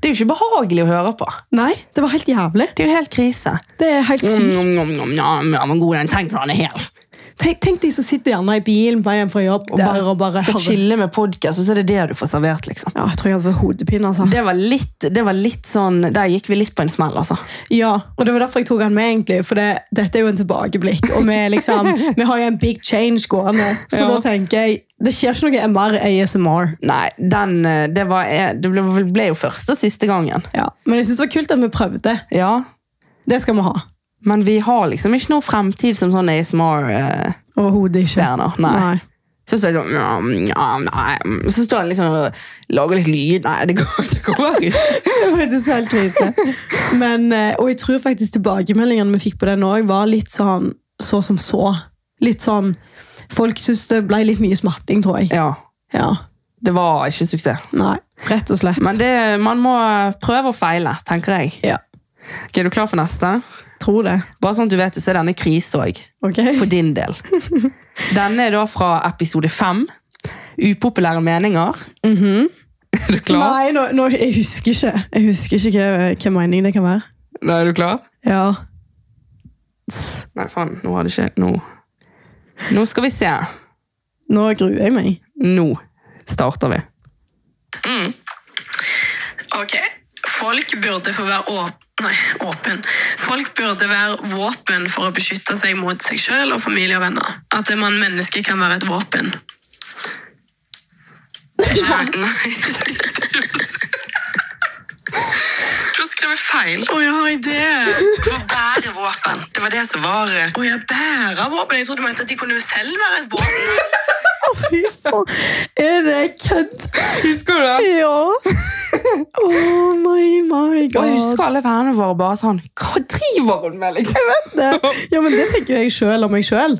[SPEAKER 1] Det er jo ikke behagelig å høre på.
[SPEAKER 2] Nei, det var helt jævlig.
[SPEAKER 1] Det er jo helt krise.
[SPEAKER 2] Det er helt
[SPEAKER 1] Mm,
[SPEAKER 2] sykt.
[SPEAKER 1] nom, nom, nom, nom, ja, men god, den tenker han er hel.
[SPEAKER 2] Tenk, tenk de som sitter gjerne i bilen på vei hjem fra jobb og bare, og bare
[SPEAKER 1] skal
[SPEAKER 2] hører.
[SPEAKER 1] chille med podcast, og så er det det du får servert, liksom.
[SPEAKER 2] Ja, jeg tror jeg hadde fått hodepine, altså.
[SPEAKER 1] Det var litt, det var litt sånn, der gikk vi litt på en smell, altså.
[SPEAKER 2] Ja, og det var derfor jeg tok han med, egentlig. For det, dette er jo en tilbakeblikk, og vi, er liksom, vi har jo en big change gående. Så
[SPEAKER 1] Ja.
[SPEAKER 2] da tenker jeg det skjer ikke noe MR ASMR.
[SPEAKER 1] Nei, den, eh, det, var, eh, det ble, ble jo første og siste gangen.
[SPEAKER 2] Ja. Men jeg syns det var kult at vi prøvde.
[SPEAKER 1] Ja,
[SPEAKER 2] Det skal vi ha.
[SPEAKER 1] men vi har liksom ikke noe fremtid som sånn ASMR-stjerner.
[SPEAKER 2] Overhodet ikke.
[SPEAKER 1] Nei.
[SPEAKER 2] Nei.
[SPEAKER 1] Så står jeg sånn, ja, ja, nei. Så står jeg liksom og lager litt lyd. Nei, det går, det går ikke.
[SPEAKER 2] Det var faktisk helt krise. Men, eh, og jeg tror faktisk tilbakemeldingene vi fikk på den òg, var litt sånn så som så. Litt sånn Folk syntes det ble litt mye smatting, tror jeg.
[SPEAKER 1] Ja,
[SPEAKER 2] Ja.
[SPEAKER 1] det var ikke suksess.
[SPEAKER 2] Nei. Rett og slett.
[SPEAKER 1] Men det, man må prøve og feile, tenker jeg.
[SPEAKER 2] Ja.
[SPEAKER 1] Ok, er du klar for neste?
[SPEAKER 2] Tror det.
[SPEAKER 1] Bare sånn at du vet det, så er denne krise også.
[SPEAKER 2] Ok?
[SPEAKER 1] For din del. Denne er da fra episode 5. Upopulære meninger. Mhm. Er du klar?
[SPEAKER 2] Nei, nå, nå, jeg husker ikke. Jeg husker ikke hva, hva mening det kan være.
[SPEAKER 1] Nei, er du klar?
[SPEAKER 2] Ja.
[SPEAKER 1] Nei, faen, nå har det ikke Nå. Nå skal vi se.
[SPEAKER 2] Nå gruer jeg meg.
[SPEAKER 1] Nå starter vi.
[SPEAKER 3] Ok. Folk burde få være åp nei, åpen. Folk burde være våpen for å beskytte seg mot seg selv og familie og venner. At det man menneske kan være et våpen.
[SPEAKER 5] Nei, nei. Du har skrevet feil.
[SPEAKER 3] Å, jeg har idé!
[SPEAKER 5] For å bære våpen. Det var det som var eh,
[SPEAKER 3] Å, jeg bærer våpen. Jeg trodde du mente at de kunne jo selv være et våpen.
[SPEAKER 2] Fy faen. Er det kødd?
[SPEAKER 1] Husker du det?
[SPEAKER 2] Ja. Oh my, my
[SPEAKER 1] Og
[SPEAKER 2] god.
[SPEAKER 1] jeg husker alle vennene våre bare sånn Hva driver hun med, liksom?
[SPEAKER 2] det. Ja, men det tenker jo jeg sjøl om meg sjøl.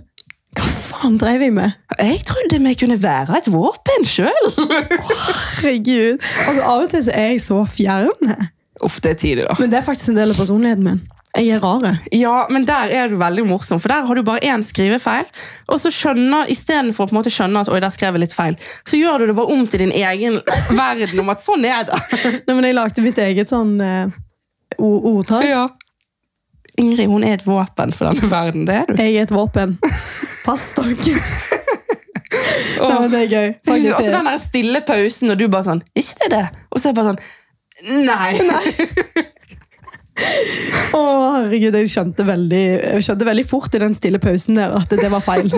[SPEAKER 2] Hva faen drev jeg med?
[SPEAKER 1] Jeg trodde vi kunne være et våpen sjøl.
[SPEAKER 2] Herregud. Altså, av og til så er jeg så fjern.
[SPEAKER 1] Uff, det er tidlig, da.
[SPEAKER 2] Men det er faktisk en del av personligheten min. Jeg er rare.
[SPEAKER 1] Ja, men der er du veldig morsom, for der har du bare én skrivefeil. Og så skjønner, istedenfor å på en måte skjønne at oi, der skrev jeg litt feil, så gjør du det bare om til din egen verden om at sånn er det.
[SPEAKER 2] Nei, men jeg lagde mitt eget sånn eh, o- ordtak.
[SPEAKER 1] Ja. Ingrid, hun er et våpen for denne verden, det er du.
[SPEAKER 2] Jeg er et våpen. Pass dere. Nei, men det er gøy.
[SPEAKER 1] Og
[SPEAKER 2] Faktisk,
[SPEAKER 1] så altså,
[SPEAKER 2] jeg-
[SPEAKER 1] den der stille pausen, og du bare sånn Ikke det, det? Og så er jeg bare sånn Nei.
[SPEAKER 2] Å, eh, herregud, jeg skjønte veldig, jeg skjønte veldig fort i den stille pausen der at det var feil.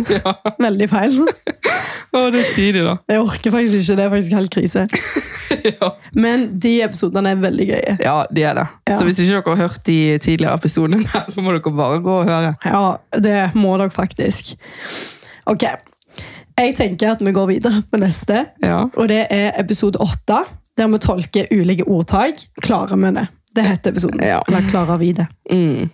[SPEAKER 2] Veldig feil.
[SPEAKER 1] Å, det er tidlig, da.
[SPEAKER 2] Jeg orker faktisk ikke. Det er faktisk helt krise.
[SPEAKER 1] Ja.
[SPEAKER 2] Men de episodene er veldig gøye.
[SPEAKER 1] ja, de er det.
[SPEAKER 2] Ja.
[SPEAKER 1] Så hvis ikke dere har hørt de tidligere episodene, der, så må dere bare gå og høre.
[SPEAKER 2] Ja, det må dere faktisk. Ok. Jeg tenker at vi går videre på neste.
[SPEAKER 1] Ja.
[SPEAKER 2] Og det er episode åtte, der vi tolker ulike ordtak. Klarer vi det? Det heter episoden.
[SPEAKER 1] Ja.
[SPEAKER 2] Eller klarer vi det?
[SPEAKER 1] Mm.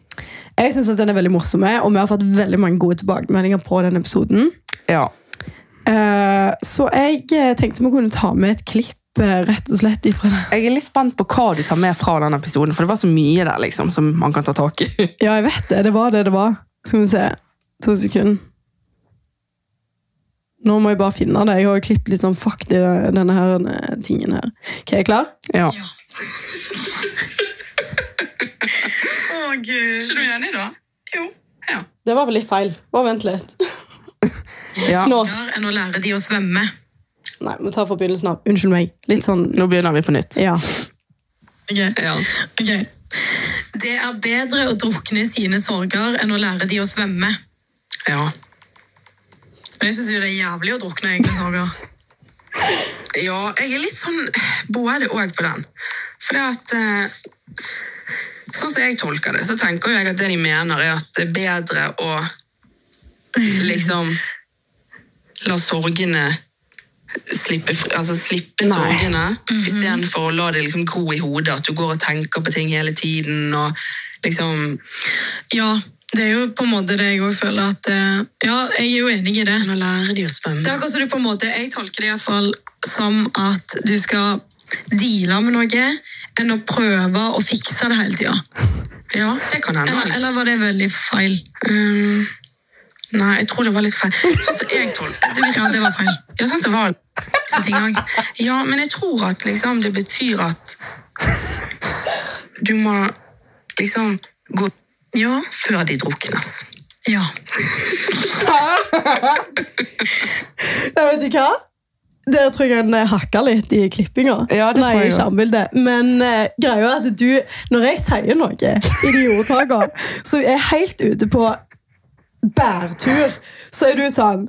[SPEAKER 2] Jeg synes at den er veldig morsomme, og vi har fått veldig mange gode tilbakemeldinger på den episoden.
[SPEAKER 1] ja.
[SPEAKER 2] Eh, så jeg eh, tenkte vi kunne ta med et klipp eh, rett og slett ifra det.
[SPEAKER 1] Jeg er litt spent på hva du tar med fra den episoden, for det var så mye der liksom, som man kan ta tak i.
[SPEAKER 2] Ja, jeg vet det. Det var det det var. Skal vi se. To sekunder. Nå må jeg bare finne det. Jeg har jo klippet litt sånn fuck i det- denne her, eh, tingen her. Ok, er jeg klar?
[SPEAKER 1] Ja.
[SPEAKER 3] Å, Gud.
[SPEAKER 5] Ikke du enig, da?
[SPEAKER 3] Jo.
[SPEAKER 2] Det var vel litt feil. Bare vent litt.
[SPEAKER 1] Ja.
[SPEAKER 2] Nå.
[SPEAKER 3] Enn å lære de å svømme.
[SPEAKER 2] Nei, vi tar fra begynnelsen av. Unnskyld meg. Litt sånn
[SPEAKER 1] Nå begynner vi på nytt.
[SPEAKER 2] Ja.
[SPEAKER 3] Ok.
[SPEAKER 5] Ja.
[SPEAKER 3] Ok. Det er bedre å drukne i sine sorger enn å lære de å svømme.
[SPEAKER 5] Ja.
[SPEAKER 3] Men jeg synes jo det er jævlig å drukne i egne sorger.
[SPEAKER 5] Ja, jeg er litt sånn både òg på den. For det at eh, Sånn som jeg tolker det, så tenker jo jeg at det de mener, er at det er bedre å liksom La sorgene slippe, fri, altså slippe
[SPEAKER 1] Nei. Mhm.
[SPEAKER 5] sorgene, istedenfor å la det liksom gro i hodet. At du går og tenker på ting hele tiden og liksom
[SPEAKER 3] Ja, det er jo på en måte det jeg også føler at eh, Ja, jeg er jo enig i det.
[SPEAKER 5] Nå lærer de å svømme.
[SPEAKER 3] Det er akkurat som du på en måte Jeg tolker det iallfall
[SPEAKER 4] som at du skal deale med noe, enn å prøve å fikse det hele tida.
[SPEAKER 5] Ja, det kan hende.
[SPEAKER 4] Eller, eller var det veldig feil?
[SPEAKER 5] Um, nei, jeg tror det var litt feil. Sånn som jeg tolker det.
[SPEAKER 4] Ja, det var feil.
[SPEAKER 5] Ja, sant, det var sånne ting også. Ja, men jeg tror at liksom, det betyr at du må liksom gå
[SPEAKER 4] Ja.
[SPEAKER 5] før de druknes.
[SPEAKER 4] ja.
[SPEAKER 2] Nei, vet du hva? Der tror jeg han eh, hakker litt i klippinga.
[SPEAKER 1] Ja, det
[SPEAKER 2] Nei,
[SPEAKER 1] tror jeg
[SPEAKER 2] ikke
[SPEAKER 1] jo.
[SPEAKER 2] armbildet. Men eh, greia er at du, når jeg sier noe i de ordtakene, så er jeg helt ute på bærtur, så er du sånn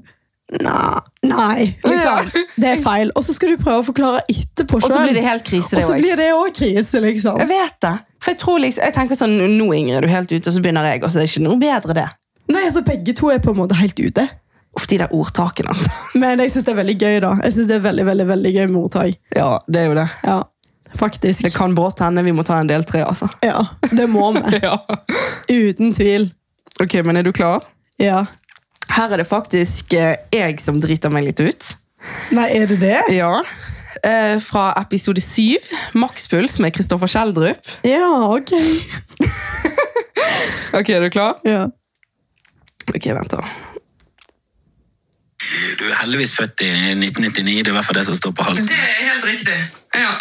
[SPEAKER 2] Nei. nei liksom. Det er feil. Og så skal du prøve å forklare etterpå
[SPEAKER 1] Og så
[SPEAKER 2] selv.
[SPEAKER 1] blir det helt krise, det
[SPEAKER 2] Og så
[SPEAKER 1] òg.
[SPEAKER 2] blir det også krise, liksom.
[SPEAKER 1] Jeg vet det. For jeg tror liksom, jeg tenker sånn, Nå Ingrid, er du helt ute, og så begynner jeg. Og så er det ikke noe bedre, det.
[SPEAKER 2] Nei, altså Begge to er på en måte helt ute.
[SPEAKER 1] Uff, de der ordtakene, altså.
[SPEAKER 2] Men jeg syns det er veldig gøy, da. Jeg synes det er veldig, veldig, veldig gøy med ordtak.
[SPEAKER 1] Ja, det er jo det.
[SPEAKER 2] Ja, faktisk.
[SPEAKER 1] Det kan brått hende vi må ta en del tre, altså.
[SPEAKER 2] Ja, det må vi.
[SPEAKER 1] Ja.
[SPEAKER 2] Uten tvil.
[SPEAKER 1] Ok, men er du klar?
[SPEAKER 2] Ja.
[SPEAKER 1] Her er det faktisk eh, jeg som driter meg litt ut.
[SPEAKER 2] Nei, er det det?
[SPEAKER 1] Ja. Eh, fra episode syv, Makspuls med Kristoffer Kjeldrup.
[SPEAKER 2] Ja, ok.
[SPEAKER 1] Ok, er du klar?
[SPEAKER 2] Ja.
[SPEAKER 1] Ok, vent da.
[SPEAKER 6] Du er heldigvis født i 1999, det er i hvert fall det som står på halsen.
[SPEAKER 5] Det er helt riktig. Ja.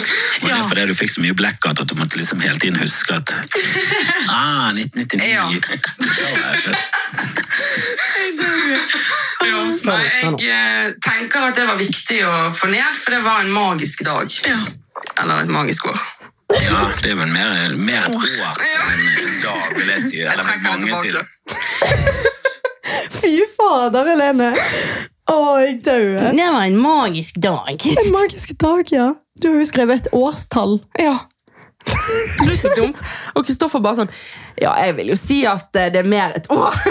[SPEAKER 6] Og det er fordi du fikk så mye blackout at du måtte liksom hele tiden huske at Ah, 1999.
[SPEAKER 5] Ja.
[SPEAKER 6] Da var jeg født.
[SPEAKER 5] Ja. Nei, jeg eh, tenker at det var viktig å få ned, for det var en magisk dag. Eller et magisk år.
[SPEAKER 6] ja, det er vel mer, mer et år enn en dag, vil jeg si. Eller
[SPEAKER 5] trekker det
[SPEAKER 6] mange
[SPEAKER 5] tilbake.
[SPEAKER 6] sider.
[SPEAKER 2] Fy fader, Helene. Å, jeg dauer.
[SPEAKER 1] Det var en magisk dag.
[SPEAKER 2] En magisk dag, ja. Du har jo skrevet et årstall.
[SPEAKER 1] Ja. Det er så dumt. Og Kristoffer bare sånn Ja, jeg vil jo si at eh, det er mer et år.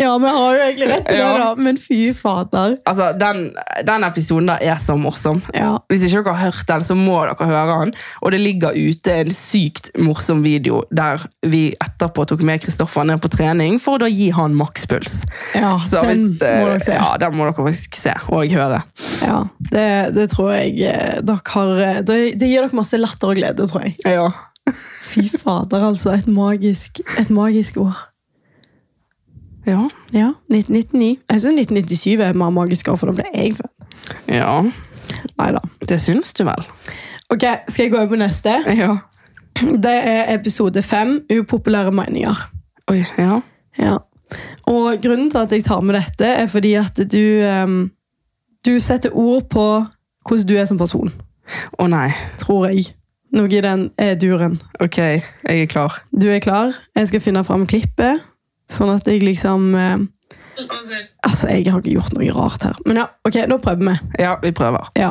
[SPEAKER 2] Ja, vi har jo egentlig rett i det,
[SPEAKER 1] Ja.
[SPEAKER 2] da. Men fy fader.
[SPEAKER 1] Altså, den, den episoden der er så morsom.
[SPEAKER 2] Ja.
[SPEAKER 1] Hvis ikke dere har hørt den, så må dere høre den. Og det ligger ute en sykt morsom video der vi etterpå tok med Kristoffer ned på trening for å da gi han makspuls.
[SPEAKER 2] ja
[SPEAKER 1] Så
[SPEAKER 2] den
[SPEAKER 1] hvis, eh,
[SPEAKER 2] må dere se.
[SPEAKER 1] Ja, den må dere faktisk se og høre.
[SPEAKER 2] Ja, det, det tror jeg eh, dere har eh, Det, det gir dere masse latter og glede, tror jeg.
[SPEAKER 1] Ja.
[SPEAKER 2] Fy fader, altså. Et magisk, et magisk år.
[SPEAKER 1] Ja.
[SPEAKER 2] Ja, 1999. Jeg syns 1997 er et mer magisk år, for da ble jeg født.
[SPEAKER 1] ja.
[SPEAKER 2] Nei da.
[SPEAKER 1] Det syns du vel?
[SPEAKER 2] Ok, skal jeg gå over på neste?
[SPEAKER 1] Ja.
[SPEAKER 2] Det er episode fem, upopulære meninger.
[SPEAKER 1] Oi, ja.
[SPEAKER 2] Ja. Og grunnen til at jeg tar med dette, er fordi at du ehm, Du setter ord på hvordan du er som person,
[SPEAKER 1] Å nei.
[SPEAKER 2] tror jeg. Noe i den eh, duren.
[SPEAKER 1] Ok, jeg er klar.
[SPEAKER 2] Du er klar? Jeg skal finne fram klippet, sånn at jeg liksom eh, Altså, jeg har ikke gjort noe rart her. Men ja, ok, da prøver vi.
[SPEAKER 1] Ja, vi prøver.
[SPEAKER 2] Ja.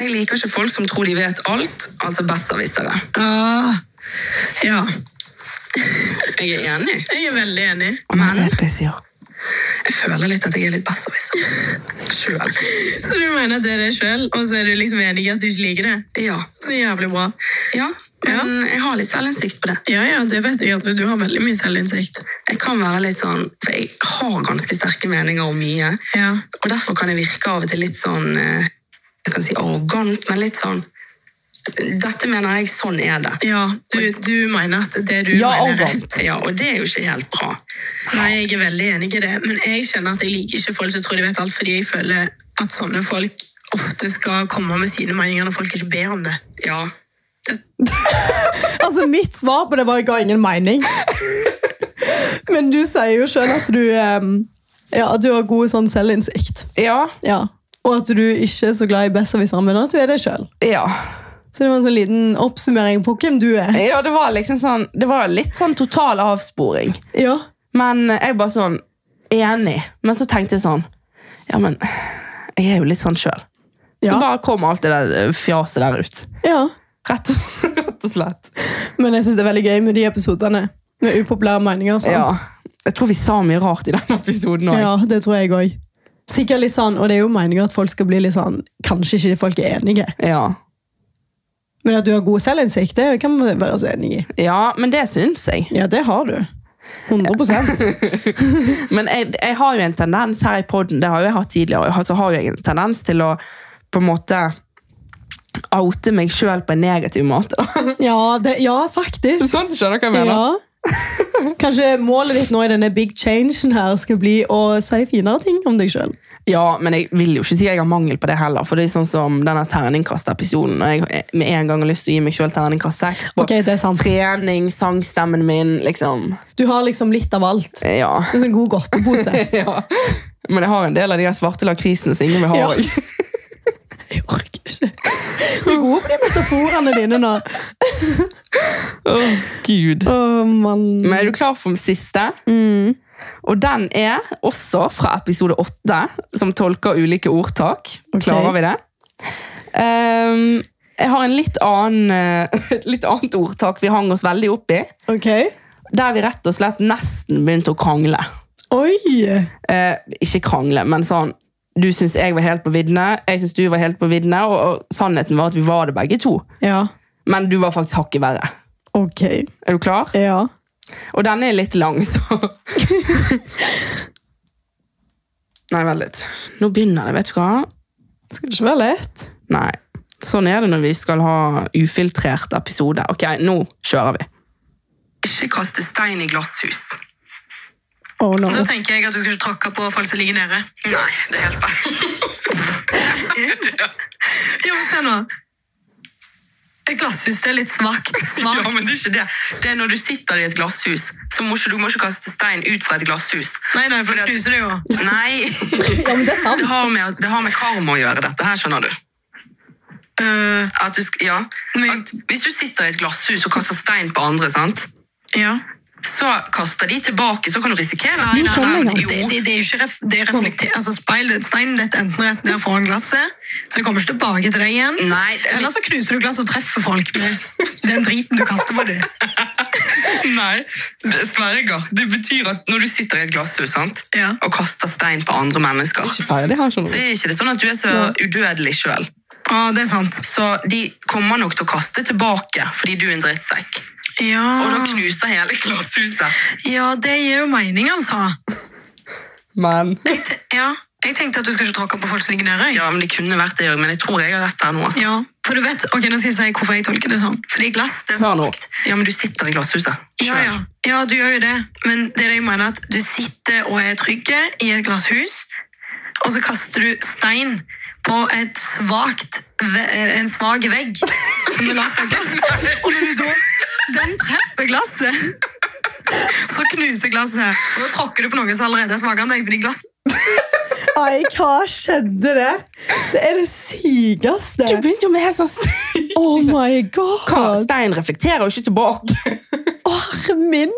[SPEAKER 5] Jeg liker ikke folk som tror de vet alt, altså besserwissere. Ah,
[SPEAKER 4] ja.
[SPEAKER 5] Jeg er enig.
[SPEAKER 4] Jeg er Mm. veldig enig.
[SPEAKER 5] Men
[SPEAKER 1] Hva er det jeg sier?
[SPEAKER 5] jeg føler litt at jeg er litt besserwisser sjøl.
[SPEAKER 4] Så du mener at det er deg sjøl, og så er du liksom enig i at du ikke liker det?
[SPEAKER 5] Ja.
[SPEAKER 4] Så jævlig bra.
[SPEAKER 5] ja. Men jeg har litt selvinnsikt på det.
[SPEAKER 4] Ja, ja, det vet jeg at du har veldig mye selvinnsikt.
[SPEAKER 5] Jeg kan være litt sånn, for jeg har ganske sterke meninger om mye.
[SPEAKER 4] Ja.
[SPEAKER 5] Og derfor kan jeg virke av og til litt sånn eh, Jeg kan si arrogant, men litt sånn Dette mener jeg, sånn er det.
[SPEAKER 4] Ja, du, du mener at det du
[SPEAKER 1] Ja,
[SPEAKER 4] mener er
[SPEAKER 1] arrogant.
[SPEAKER 4] rett.
[SPEAKER 5] Ja, Og det er jo ikke helt bra.
[SPEAKER 4] Nei, jeg er veldig enig i det, men jeg skjønner at jeg liker ikke folk som tror de vet alt, fordi jeg føler at sånne folk ofte skal komme med sine meninger når folk ikke ber om det.
[SPEAKER 5] Ja.
[SPEAKER 2] Altså, mitt svar på det var ga ingen mening. Men du sier jo sjøl at du ehm, Ja, at du har god sånn selvinnsikt.
[SPEAKER 1] Ja.
[SPEAKER 2] Ja. Og at du ikke er så glad i besserwissere, men at du er det sjøl.
[SPEAKER 1] Ja.
[SPEAKER 2] Så det var en sånn liten oppsummering på hvem du er.
[SPEAKER 1] ja, det var liksom sånn Det var litt sånn total avsporing.
[SPEAKER 2] Ja,
[SPEAKER 1] Men jeg bare sånn Enig. Men så tenkte jeg sånn Ja, men jeg er jo litt sånn sjøl. Så
[SPEAKER 2] Ja.
[SPEAKER 1] bare kom alt det der eh, fjaset der ut.
[SPEAKER 2] ja.
[SPEAKER 1] Rett og, rett og slett.
[SPEAKER 2] Men jeg syns det er veldig gøy med de episodene. Med upopulære meninger. og Sånn.
[SPEAKER 1] Ja. Jeg tror vi sa mye rart i den episoden òg.
[SPEAKER 2] ja, det tror jeg òg. Sikkert litt sånn, og det er jo meningen at folk skal bli litt sånn Kanskje ikke folk er enige,
[SPEAKER 1] Ja.
[SPEAKER 2] men at du har god selvinnsikt, det kan vi være oss enig i.
[SPEAKER 1] ja, men det syns jeg.
[SPEAKER 2] Ja, det har du. 100
[SPEAKER 1] altså Men jeg, jeg har jo en tendens her i podden, det har jo jeg hatt tidligere, og jeg har- så har jo jeg en tendens til å på en måte oute meg sjøl på en negativ måte.
[SPEAKER 2] Ja, det, ja faktisk.
[SPEAKER 1] sånn, skjønner du hva jeg mener?
[SPEAKER 2] Ja. Kanskje målet ditt nå i denne big changen her skal bli å si finere ting om deg sjøl.
[SPEAKER 1] Ja, men jeg vil jo ikke si jeg har mangel på det heller. For det er sånn som denne terningkastepisoden. Og jeg har med en gang har lyst til å gi meg sjøl terningkast seks på
[SPEAKER 2] Ok, det er sant.
[SPEAKER 1] trening, sangstemmen min, liksom.
[SPEAKER 2] Du har liksom litt av alt.
[SPEAKER 1] Eh, Ja.
[SPEAKER 2] En sånn god godtepose.
[SPEAKER 1] ja. Men jeg har en del av de her svarte lakrisene som ingen vil ha
[SPEAKER 2] Ja.
[SPEAKER 1] òg.
[SPEAKER 2] Jeg orker ikke. Du er god på de metaforene dine nå.
[SPEAKER 1] Gud.
[SPEAKER 2] Å, mann.
[SPEAKER 1] Men er du klar for den siste? Og den er også fra episode åtte, som tolker ulike ordtak.
[SPEAKER 2] Ok.
[SPEAKER 1] Klarer vi det? Ehm, jeg har en litt annen, eh, et litt annet ordtak vi hang oss veldig opp i.
[SPEAKER 2] Ok.
[SPEAKER 1] Der vi rett og slett nesten begynte å krangle.
[SPEAKER 2] Oi!
[SPEAKER 1] Eh, ikke krangle, men sånn Du syns jeg var helt på viddene, jeg syns du var helt på viddene, og, og sannheten var at vi var det begge to.
[SPEAKER 2] Ja.
[SPEAKER 1] Men du var faktisk hakket verre.
[SPEAKER 2] Ok.
[SPEAKER 1] Er du klar?
[SPEAKER 2] Ja.
[SPEAKER 1] Og denne er litt lang, så Nei, vent litt. Nå begynner det, vet du hva?
[SPEAKER 2] Skal det ikke være lett?
[SPEAKER 1] Nei. Sånn er det når vi skal ha ufiltrert episode. Ok, nå kjører vi.
[SPEAKER 5] Ikke kaste stein i glasshus.
[SPEAKER 2] Oh, no.
[SPEAKER 3] Da tenker jeg at du skal ikke tråkke på folk som ligger nede.
[SPEAKER 5] Nei, det er helt feil.
[SPEAKER 3] Jo, men se nå. Et glasshus det er litt svakt.
[SPEAKER 5] Ja,
[SPEAKER 3] svakt.
[SPEAKER 5] men det er ikke det. Det er når du sitter i et glasshus, så må ikke, du må ikke kaste stein ut fra et glasshus.
[SPEAKER 3] Nei, nei, for det knuser det jo.
[SPEAKER 5] Nei,
[SPEAKER 2] Ja, men det er sant.
[SPEAKER 5] det har med, det har med karma å gjøre dette her, skjønner du.
[SPEAKER 3] Øh,
[SPEAKER 5] At du sk- ja.
[SPEAKER 3] Men-
[SPEAKER 5] At hvis du sitter i et glasshus og kaster stein på andre, sant?
[SPEAKER 3] ja.
[SPEAKER 5] så kaster de tilbake, så kan du risikere at
[SPEAKER 3] Nei,
[SPEAKER 5] de
[SPEAKER 3] nei,
[SPEAKER 5] der-
[SPEAKER 3] nei, det, sånn
[SPEAKER 5] Jo,
[SPEAKER 3] det, det er jo ikke ref, det er reflekter, altså speil, steinen detter enten rett ned foran glasset, så det kommer ikke tilbake til deg igjen.
[SPEAKER 5] Nei, det er
[SPEAKER 3] Eller
[SPEAKER 5] litt-
[SPEAKER 3] så knuser du glass og treffer folk med den driten du kaster på dem.
[SPEAKER 5] Nei, det sverger. Det betyr at når du sitter i et glasshus sant?
[SPEAKER 3] Ja.
[SPEAKER 5] og kaster stein på andre mennesker,
[SPEAKER 1] Ikke ferdig her,
[SPEAKER 5] så
[SPEAKER 1] skjønner du.
[SPEAKER 5] er ikke det sånn at du er så udødelig sjøl.
[SPEAKER 3] Ja, det er sant.
[SPEAKER 5] Så de kommer nok til å kaste tilbake fordi du er en drittsekk.
[SPEAKER 3] Ja,
[SPEAKER 5] Og da knuser hele glasshuset.
[SPEAKER 3] ja det gir jo mening, altså.
[SPEAKER 1] Men
[SPEAKER 3] Jeg, te- ja, jeg tenkte at du skal ikke tråkke på folk som ligger nede. jeg.
[SPEAKER 5] Ja, men Det kunne vært det òg, men jeg tror jeg har rett der nå. Altså.
[SPEAKER 3] Ja, for du vet, ok, nå skal jeg si hvorfor jeg tolker det sånn. Fordi glass, det er
[SPEAKER 1] hør nå.
[SPEAKER 3] svakt.
[SPEAKER 5] Ja, men du sitter i glasshuset.
[SPEAKER 3] Ja,
[SPEAKER 5] selv.
[SPEAKER 3] ja. ja, du gjør jo det. Men det er det jeg mener at du sitter og er trygg i et glasshus, og så kaster du stein på et svagt, ve- en svag vegg som er lagt av glass. Og når du da, den treffer glasset, så knuser glasset. Og da tråkker du på noe som allerede er svakere enn deg, fordi glass
[SPEAKER 2] Ai, hva skjedde der? Det er det sykeste.
[SPEAKER 1] Du begynte jo med helt sånn sykt
[SPEAKER 2] Oh my
[SPEAKER 1] Hva?
[SPEAKER 2] god!
[SPEAKER 1] Stein reflekterer jo ikke tilbake.
[SPEAKER 2] Arr min!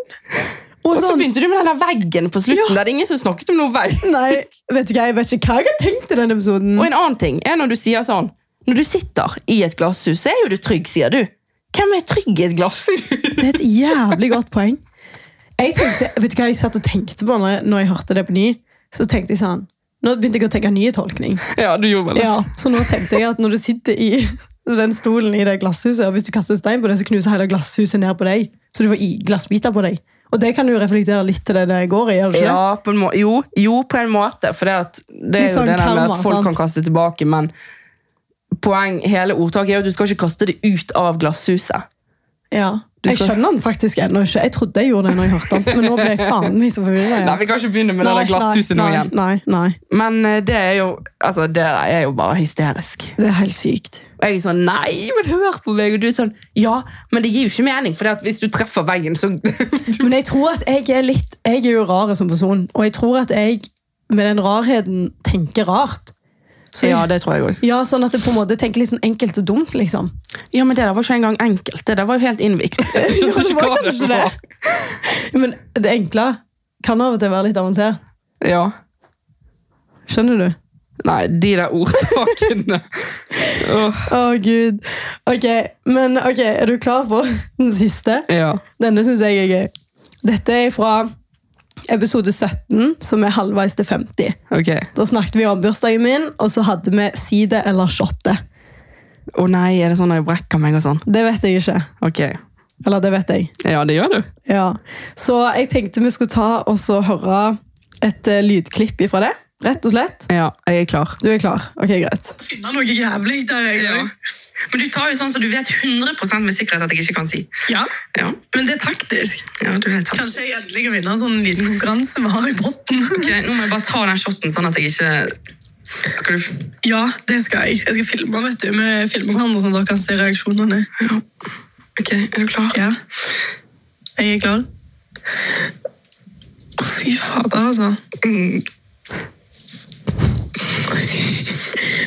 [SPEAKER 2] Og
[SPEAKER 1] Og så
[SPEAKER 2] sånn,
[SPEAKER 1] begynte du med den der veggen på slutten.
[SPEAKER 2] Ja.
[SPEAKER 1] der det er ingen som snakket om noen vei.
[SPEAKER 2] nei, vet du hva, jeg vet ikke hva jeg har tenkt i denne episoden.
[SPEAKER 1] Og en annen ting er når du sier sånn Når du sitter i et glasshus, så er jo du trygg, sier du. Hvem er trygg i et glasshus?
[SPEAKER 2] Det er et jævlig godt poeng. Jeg tenkte, vet du hva jeg satt og tenkte på når jeg, når jeg hørte det på ny? Så tenkte jeg sånn, Nå begynte jeg å tenke nye tolkning.
[SPEAKER 1] Ja, du gjorde vel det.
[SPEAKER 2] Ja, så nå tenkte jeg at når du sitter i den stolen i det glasshuset, og hvis du kaster stein på det, så knuser hele glasshuset ned på deg. Så du får i glassbiter på deg. Og det kan jo reflektere litt til det det går i. gjør det ikke det?
[SPEAKER 1] Ja, på en må jo, jo, på en måte. For det, at, det er
[SPEAKER 2] Litt
[SPEAKER 1] jo
[SPEAKER 2] sånn
[SPEAKER 1] det der med
[SPEAKER 2] karma,
[SPEAKER 1] at folk
[SPEAKER 2] sant?
[SPEAKER 1] kan kaste tilbake, men poeng, hele ordtaket er jo at du skal ikke kaste det ut av glasshuset.
[SPEAKER 2] Ja.
[SPEAKER 1] Du
[SPEAKER 2] Jeg
[SPEAKER 1] skal-
[SPEAKER 2] skjønner den faktisk ennå ikke. Jeg trodde jeg gjorde det når jeg hørte den, men nå ble jeg faen meg så forvirra.
[SPEAKER 1] Nei, vi kan ikke begynne med det der glasshuset nå igjen.
[SPEAKER 2] Nei, nei,
[SPEAKER 1] Men eh, det er jo, altså, det der er jo bare hysterisk.
[SPEAKER 2] det er helt sykt.
[SPEAKER 1] Og jeg er sånn, nei, men hør på meg. Og du er sånn, ja, men det gir jo ikke mening. For det at hvis du treffer veggen, så
[SPEAKER 2] Men jeg tror at jeg er litt Jeg er jo rar som person, og jeg tror at jeg med den rarheten tenker rart. Så jeg, ja,
[SPEAKER 1] det tror jeg òg.
[SPEAKER 2] Sånn at jeg på en måte tenker litt sånn enkelt og dumt, liksom.
[SPEAKER 1] Ja, men det der var ikke engang enkelt. Det der var jo helt innviklet. Jeg
[SPEAKER 2] Ja,
[SPEAKER 1] skjønte
[SPEAKER 2] det
[SPEAKER 1] ikke
[SPEAKER 2] var
[SPEAKER 1] hva
[SPEAKER 2] kanskje
[SPEAKER 1] det var.
[SPEAKER 2] Men det enkle kan av og til være litt avansert.
[SPEAKER 1] Ja.
[SPEAKER 2] Skjønner du?
[SPEAKER 1] Nei, de der ordtakene. Åh,
[SPEAKER 2] Å, gud. Ok, men ok, er du klar for den siste?
[SPEAKER 1] ja.
[SPEAKER 2] Denne syns jeg er gøy. Dette er fra episode 17, som er halvveis til 50.
[SPEAKER 1] Ok.
[SPEAKER 2] Da snakket vi om bursdagen min, og så hadde vi side eller shotte.
[SPEAKER 1] Å nei, er det sånn at jeg brekker meg og sånn?
[SPEAKER 2] Det vet jeg ikke.
[SPEAKER 1] Ok.
[SPEAKER 2] Eller det vet jeg.
[SPEAKER 1] Ja, det gjør du.
[SPEAKER 2] Ja. Så jeg tenkte vi skulle ta og så høre et eh, lydklipp ifra det. Rett og slett.
[SPEAKER 1] Ja, jeg er klar.
[SPEAKER 2] Du er klar. Ok, greit.
[SPEAKER 4] finne noe jævlig der jeg
[SPEAKER 5] Ja.
[SPEAKER 4] går.
[SPEAKER 5] Men du tar jo sånn som du vet 100 med sikkerhet at jeg ikke kan si.
[SPEAKER 4] Ja.
[SPEAKER 5] Ja,
[SPEAKER 4] Men det er taktisk.
[SPEAKER 5] ja du vet sant.
[SPEAKER 4] Kanskje jeg endelig kan vinne en sånn liten konkurranse vi har i potten.
[SPEAKER 5] Ok, nå må jeg bare ta den shotten sånn at jeg ikke Skal du f-
[SPEAKER 4] Ja, det skal jeg. Jeg skal filme, vet du. Vi filmer hverandre sånn at dere kan se reaksjonene.
[SPEAKER 5] Ok, er du klar?
[SPEAKER 4] Ja. Jeg er klar. Å, Fy fader, altså.
[SPEAKER 5] Mm.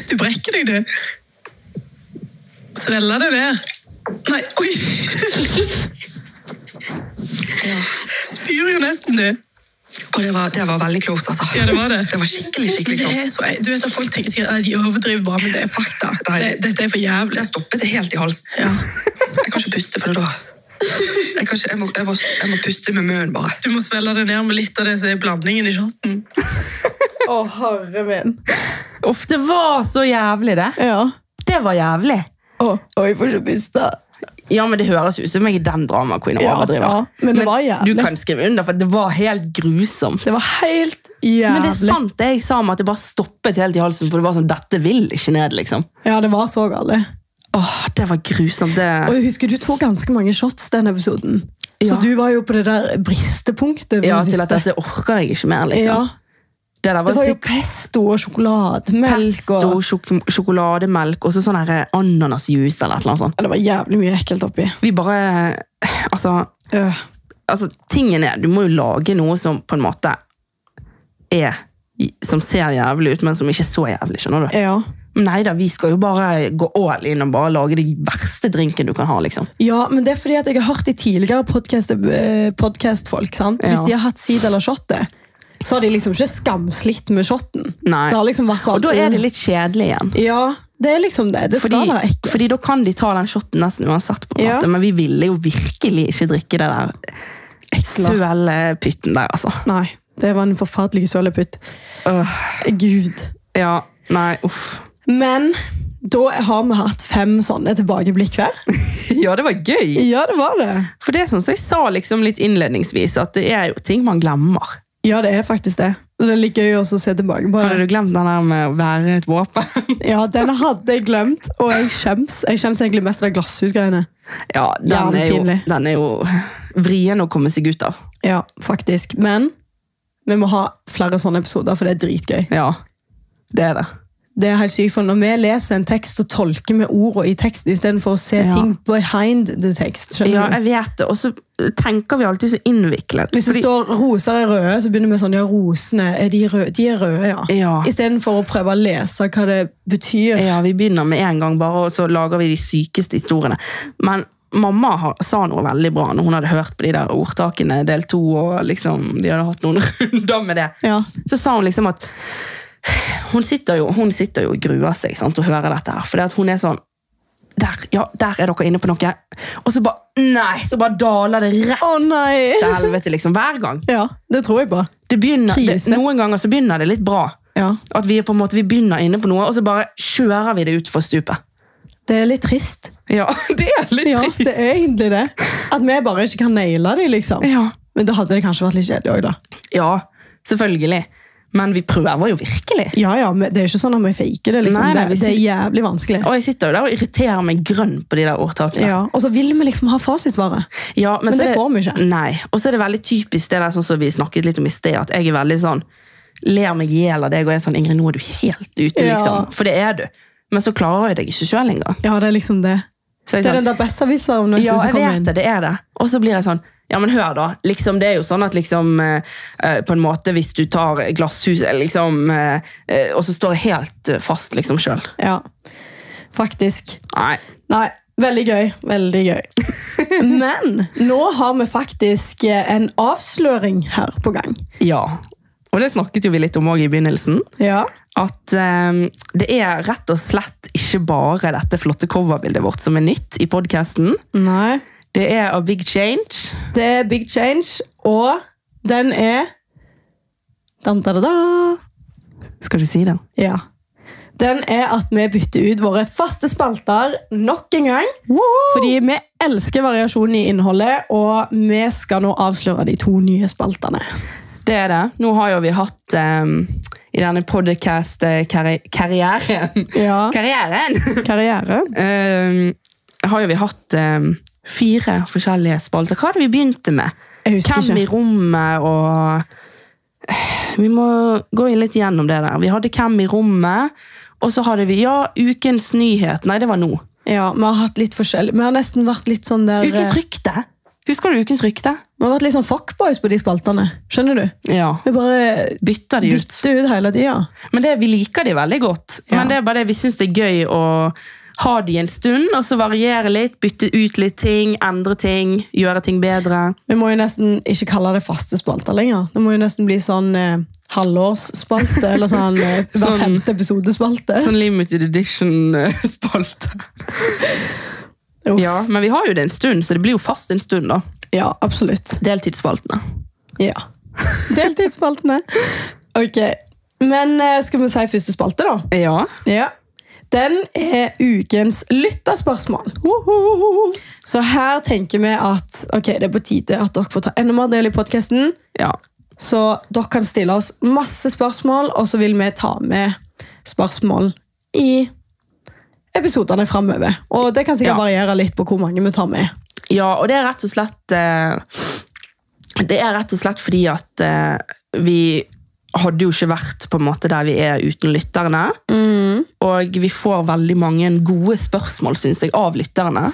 [SPEAKER 4] Du brekker deg, du. Svella det ned. Nei, oi! Spyr jo nesten, du.
[SPEAKER 5] Å, det, var, det var veldig close, altså.
[SPEAKER 4] Ja, det var det.
[SPEAKER 5] Det var skikkelig, skikkelig
[SPEAKER 4] Det er
[SPEAKER 5] close.
[SPEAKER 4] så, du vet at Folk tenker sikkert at de overdriver bare, men det er fakta.
[SPEAKER 5] Nei.
[SPEAKER 4] Det, dette er for jævlig.
[SPEAKER 5] Det stoppet det helt i halsen.
[SPEAKER 4] Ja.
[SPEAKER 5] Jeg kan ikke puste for det da. Jeg, kan ikke, jeg, må, jeg, må, jeg må puste med munnen bare.
[SPEAKER 4] Du må svelle det ned med litt av det som er blandingen i shoten.
[SPEAKER 2] Å, herre min.
[SPEAKER 1] Uff, det var så jævlig, det.
[SPEAKER 2] Ja.
[SPEAKER 1] Det var jævlig.
[SPEAKER 2] Å, å, jeg får ikke puste.
[SPEAKER 1] Ja, men Det høres ut som jeg er den drama queen og
[SPEAKER 2] Ja,
[SPEAKER 1] overdriver.
[SPEAKER 2] ja, men det var jævlig.
[SPEAKER 1] Du kan skrive under, for det var helt grusomt.
[SPEAKER 2] Det var helt jævlig.
[SPEAKER 1] Men det er sant det jeg sa om at det bare stoppet helt i halsen, for det var sånn, dette vil ikke ned, liksom.
[SPEAKER 2] Ja, det var så galt.
[SPEAKER 1] Åh, det var grusomt.
[SPEAKER 2] Og
[SPEAKER 1] Det.
[SPEAKER 2] jeg husker du tok ganske mange shots den episoden. Så
[SPEAKER 1] Ja.
[SPEAKER 2] du var jo på det der bristepunktet. på
[SPEAKER 1] Ja,
[SPEAKER 2] den
[SPEAKER 1] til
[SPEAKER 2] siste.
[SPEAKER 1] at dette orker jeg ikke mer,
[SPEAKER 2] ja,
[SPEAKER 1] liksom. Det der
[SPEAKER 2] det
[SPEAKER 1] var,
[SPEAKER 2] var jo
[SPEAKER 1] sikkert
[SPEAKER 2] pesto og sjokolademelk.
[SPEAKER 1] pesto,
[SPEAKER 2] Og...
[SPEAKER 1] sjok sjokolademelk og så sånn her ananasjuice eller et eller annet sånt.
[SPEAKER 2] Ja, det var jævlig mye ekkelt oppi.
[SPEAKER 1] Vi bare Altså,
[SPEAKER 2] Øh.
[SPEAKER 1] altså tingen er Du må jo lage noe som på en måte er Som ser jævlig ut, men som ikke er så jævlig. Skjønner du?
[SPEAKER 2] Ja.
[SPEAKER 1] Men Nei da, vi skal jo bare gå all in og bare lage den verste drinken du kan ha. liksom.
[SPEAKER 2] ja, men det er fordi at jeg har hørt i tidligere podcast, eh, podcastfolk, sant?
[SPEAKER 1] Ja.
[SPEAKER 2] hvis de har hatt sid eller shotte, så har de liksom ikke skamslitt med shotten.
[SPEAKER 1] Nei.
[SPEAKER 2] Det har liksom vært sånn.
[SPEAKER 1] Og
[SPEAKER 2] "Mm,
[SPEAKER 1] da er det litt kjedelig igjen.
[SPEAKER 2] Ja, det er liksom det. Det skal
[SPEAKER 1] Fordi,
[SPEAKER 2] være ekkelt.
[SPEAKER 1] fordi da kan de ta den shotten nesten uansett, på en
[SPEAKER 2] Ja.
[SPEAKER 1] måte. men vi ville jo virkelig ikke drikke det der søle pytten der, altså.
[SPEAKER 2] Nei, det var en forferdelig søleputt.
[SPEAKER 1] Øh,
[SPEAKER 2] Gud.
[SPEAKER 1] ja, nei, uff.
[SPEAKER 2] Men da har vi hatt fem sånne tilbakeblikk hver.
[SPEAKER 1] Ja, det var gøy!
[SPEAKER 2] Ja, det var det.
[SPEAKER 1] For det er sånn som jeg sa liksom litt innledningsvis, at det er jo ting man glemmer.
[SPEAKER 2] Ja, det er faktisk det. Og Det er litt gøy også å se tilbake på.
[SPEAKER 1] Hadde du glemt den der med å være et våpen?
[SPEAKER 2] Ja, Den hadde jeg glemt, og jeg skjems. Jeg skjems egentlig mest av de glasshusgreiene.
[SPEAKER 1] ja, den er, jo,
[SPEAKER 2] Jævlig pinlig.
[SPEAKER 1] den er jo vrien å komme seg ut av.
[SPEAKER 2] Ja, faktisk. Men vi må ha flere sånne episoder, for det er dritgøy.
[SPEAKER 1] Ja, det er det.
[SPEAKER 2] Det er helt sykt, for Når vi leser en tekst, så tolker vi ordene i teksten istedenfor å se
[SPEAKER 1] Ja.
[SPEAKER 2] ting behind the text. skjønner
[SPEAKER 1] Ja,
[SPEAKER 2] du?
[SPEAKER 1] jeg vet det. Og så tenker vi alltid så innviklet.
[SPEAKER 2] Hvis det
[SPEAKER 1] Fordi-
[SPEAKER 2] står roser er røde, så begynner vi sånn ja, rosene er de røde. De er røde, ja.
[SPEAKER 1] ja.
[SPEAKER 2] Istedenfor å prøve å lese hva det betyr.
[SPEAKER 1] ja, vi begynner med en gang bare, og så lager vi de sykeste historiene. Men mamma har, sa noe veldig bra når hun hadde hørt på de der ordtakene del to, og liksom, de hadde hatt noen runder med det.
[SPEAKER 2] Ja.
[SPEAKER 1] så sa hun liksom at hun sitter jo, hun sitter jo og gruer seg sant, og hører dette her. For hun er sånn der, ja, der er dere inne på noe. Og så bare Nei! Så bare daler det rett
[SPEAKER 2] Å nei!
[SPEAKER 1] til helvete, liksom. Hver gang.
[SPEAKER 2] Ja, det tror jeg på.
[SPEAKER 1] Det begynner, det,
[SPEAKER 2] Krise.
[SPEAKER 1] noen ganger så begynner det litt bra.
[SPEAKER 2] Ja.
[SPEAKER 1] At vi er på en måte, vi begynner inne på noe, og så bare kjører vi det utfor stupet.
[SPEAKER 2] Det er litt trist.
[SPEAKER 1] Ja, det er litt
[SPEAKER 2] Ja,
[SPEAKER 1] trist.
[SPEAKER 2] det er egentlig det. At vi bare ikke kan naile dem, liksom.
[SPEAKER 1] Ja.
[SPEAKER 2] Men da hadde det kanskje vært litt kjedelig òg, da.
[SPEAKER 1] ja, selvfølgelig. Men vi prøver jo virkelig.
[SPEAKER 2] Ja, ja, men det er ikke sånn at vi faker det, liksom.
[SPEAKER 1] Nei, nei,
[SPEAKER 2] det,
[SPEAKER 1] vi
[SPEAKER 2] det er
[SPEAKER 1] sier-
[SPEAKER 2] jævlig vanskelig.
[SPEAKER 1] Og jeg sitter jo der og irriterer meg grønn på de der ordtakene.
[SPEAKER 2] Ja, Og så vil vi liksom ha fasitsvaret.
[SPEAKER 1] Ja, men,
[SPEAKER 2] Men
[SPEAKER 1] så
[SPEAKER 2] det
[SPEAKER 1] er
[SPEAKER 2] får vi ikke.
[SPEAKER 1] Nei, Og så er det veldig typisk det der sånn som vi snakket litt om i sted, at jeg er veldig sånn Ler meg i hjel av deg og er sånn Ingrid, nå er du helt ute,
[SPEAKER 2] Ja.
[SPEAKER 1] liksom. For det er du. Men så klarer jeg deg ikke sjøl engang.
[SPEAKER 2] Ja, det er liksom det.
[SPEAKER 1] Så jeg
[SPEAKER 2] Det er
[SPEAKER 1] sånn,
[SPEAKER 2] den der Bessaviseren
[SPEAKER 1] ja,
[SPEAKER 2] som
[SPEAKER 1] jeg
[SPEAKER 2] kommer
[SPEAKER 1] vet
[SPEAKER 2] inn.
[SPEAKER 1] det, det er det. Og så blir jeg sånn ja, men hør da, liksom Det er jo sånn at liksom, eh, eh, på en måte hvis du tar glasshus eh, liksom, eh, eh, og så står jeg helt eh, fast liksom sjøl.
[SPEAKER 2] Ja, faktisk.
[SPEAKER 1] Nei.
[SPEAKER 2] Nei, veldig gøy. Veldig gøy. Men nå har vi faktisk eh, en avsløring her på gang.
[SPEAKER 1] Ja. Og det snakket jo vi litt om òg i begynnelsen.
[SPEAKER 2] Ja.
[SPEAKER 1] at eh, det er rett og slett ikke bare dette flotte coverbildet vårt som er nytt i podcasten.
[SPEAKER 2] Nei.
[SPEAKER 1] Det er A Big Change.
[SPEAKER 2] Det er Big Change, og den er dam, da, da, da.
[SPEAKER 1] Skal du si den?
[SPEAKER 2] Ja. Den er at vi bytter ut våre faste spalter nok en gang. Fordi vi elsker variasjonen i innholdet, og vi skal nå avsløre de to nye spaltene.
[SPEAKER 1] Det er det. Nå har jo vi hatt eh, i denne podcast-karrieren.
[SPEAKER 2] Ja.
[SPEAKER 1] Karrieren!
[SPEAKER 2] Karriere.
[SPEAKER 1] Eh, har jo vi hatt eh, fire forskjellige spalter. Hva hadde vi begynt med?
[SPEAKER 2] Jeg husker
[SPEAKER 1] Hvem i
[SPEAKER 2] ikke.
[SPEAKER 1] rommet og eh, Vi må gå inn litt gjennom det der. Vi hadde Hvem i rommet, og så hadde vi Ja, ukens nyhet. Nei, det var nå.
[SPEAKER 2] Ja, vi har hatt litt forskjellig. Vi har nesten vært litt sånn der eh,
[SPEAKER 1] Ukens rykte. Husker du Ukens rykte?
[SPEAKER 2] Vi har vært litt sånn fuckboys på de spaltene. Skjønner du?
[SPEAKER 1] Ja.
[SPEAKER 2] Vi bare
[SPEAKER 1] Bytta de ut.
[SPEAKER 2] bytter ut hele tida.
[SPEAKER 1] Men det, vi liker de veldig godt.
[SPEAKER 2] Ja.
[SPEAKER 1] Men det er bare det vi syns det er gøy å ha de en stund, og så variere litt, bytte ut litt ting, endre ting, gjøre ting bedre.
[SPEAKER 2] Vi må jo nesten ikke kalle det faste spalter lenger. Det må jo nesten bli sånn eh, halvårsspalte, eller sånn eh, hver
[SPEAKER 1] Sånn-
[SPEAKER 2] femte episode-spalte.
[SPEAKER 1] Sånn limited edition-spalte.
[SPEAKER 2] Uff.
[SPEAKER 1] Ja, men vi har jo det en stund, så det blir jo fast en stund, da.
[SPEAKER 2] ja, absolutt.
[SPEAKER 1] Deltidsspaltene.
[SPEAKER 2] Ja. Deltidsspaltene. Ok. Men eh, skal vi si første spalte, da?
[SPEAKER 1] Ja.
[SPEAKER 2] Ja. Den er ukens lytterspørsmål. Så her tenker vi at ok, det er på tide at dere får ta enda mer del i podkasten.
[SPEAKER 1] ja.
[SPEAKER 2] Så dere kan stille oss masse spørsmål, og så vil vi ta med spørsmål i episodene framover. Og det kan sikkert
[SPEAKER 1] Ja.
[SPEAKER 2] variere litt på hvor mange vi tar med.
[SPEAKER 1] Ja, og det er rett og slett eh, Det er rett og slett fordi at eh, vi hadde jo ikke vært på en måte der vi er uten lytterne.
[SPEAKER 2] Mm.
[SPEAKER 1] Og vi får veldig mange gode spørsmål, syns jeg, av lytterne.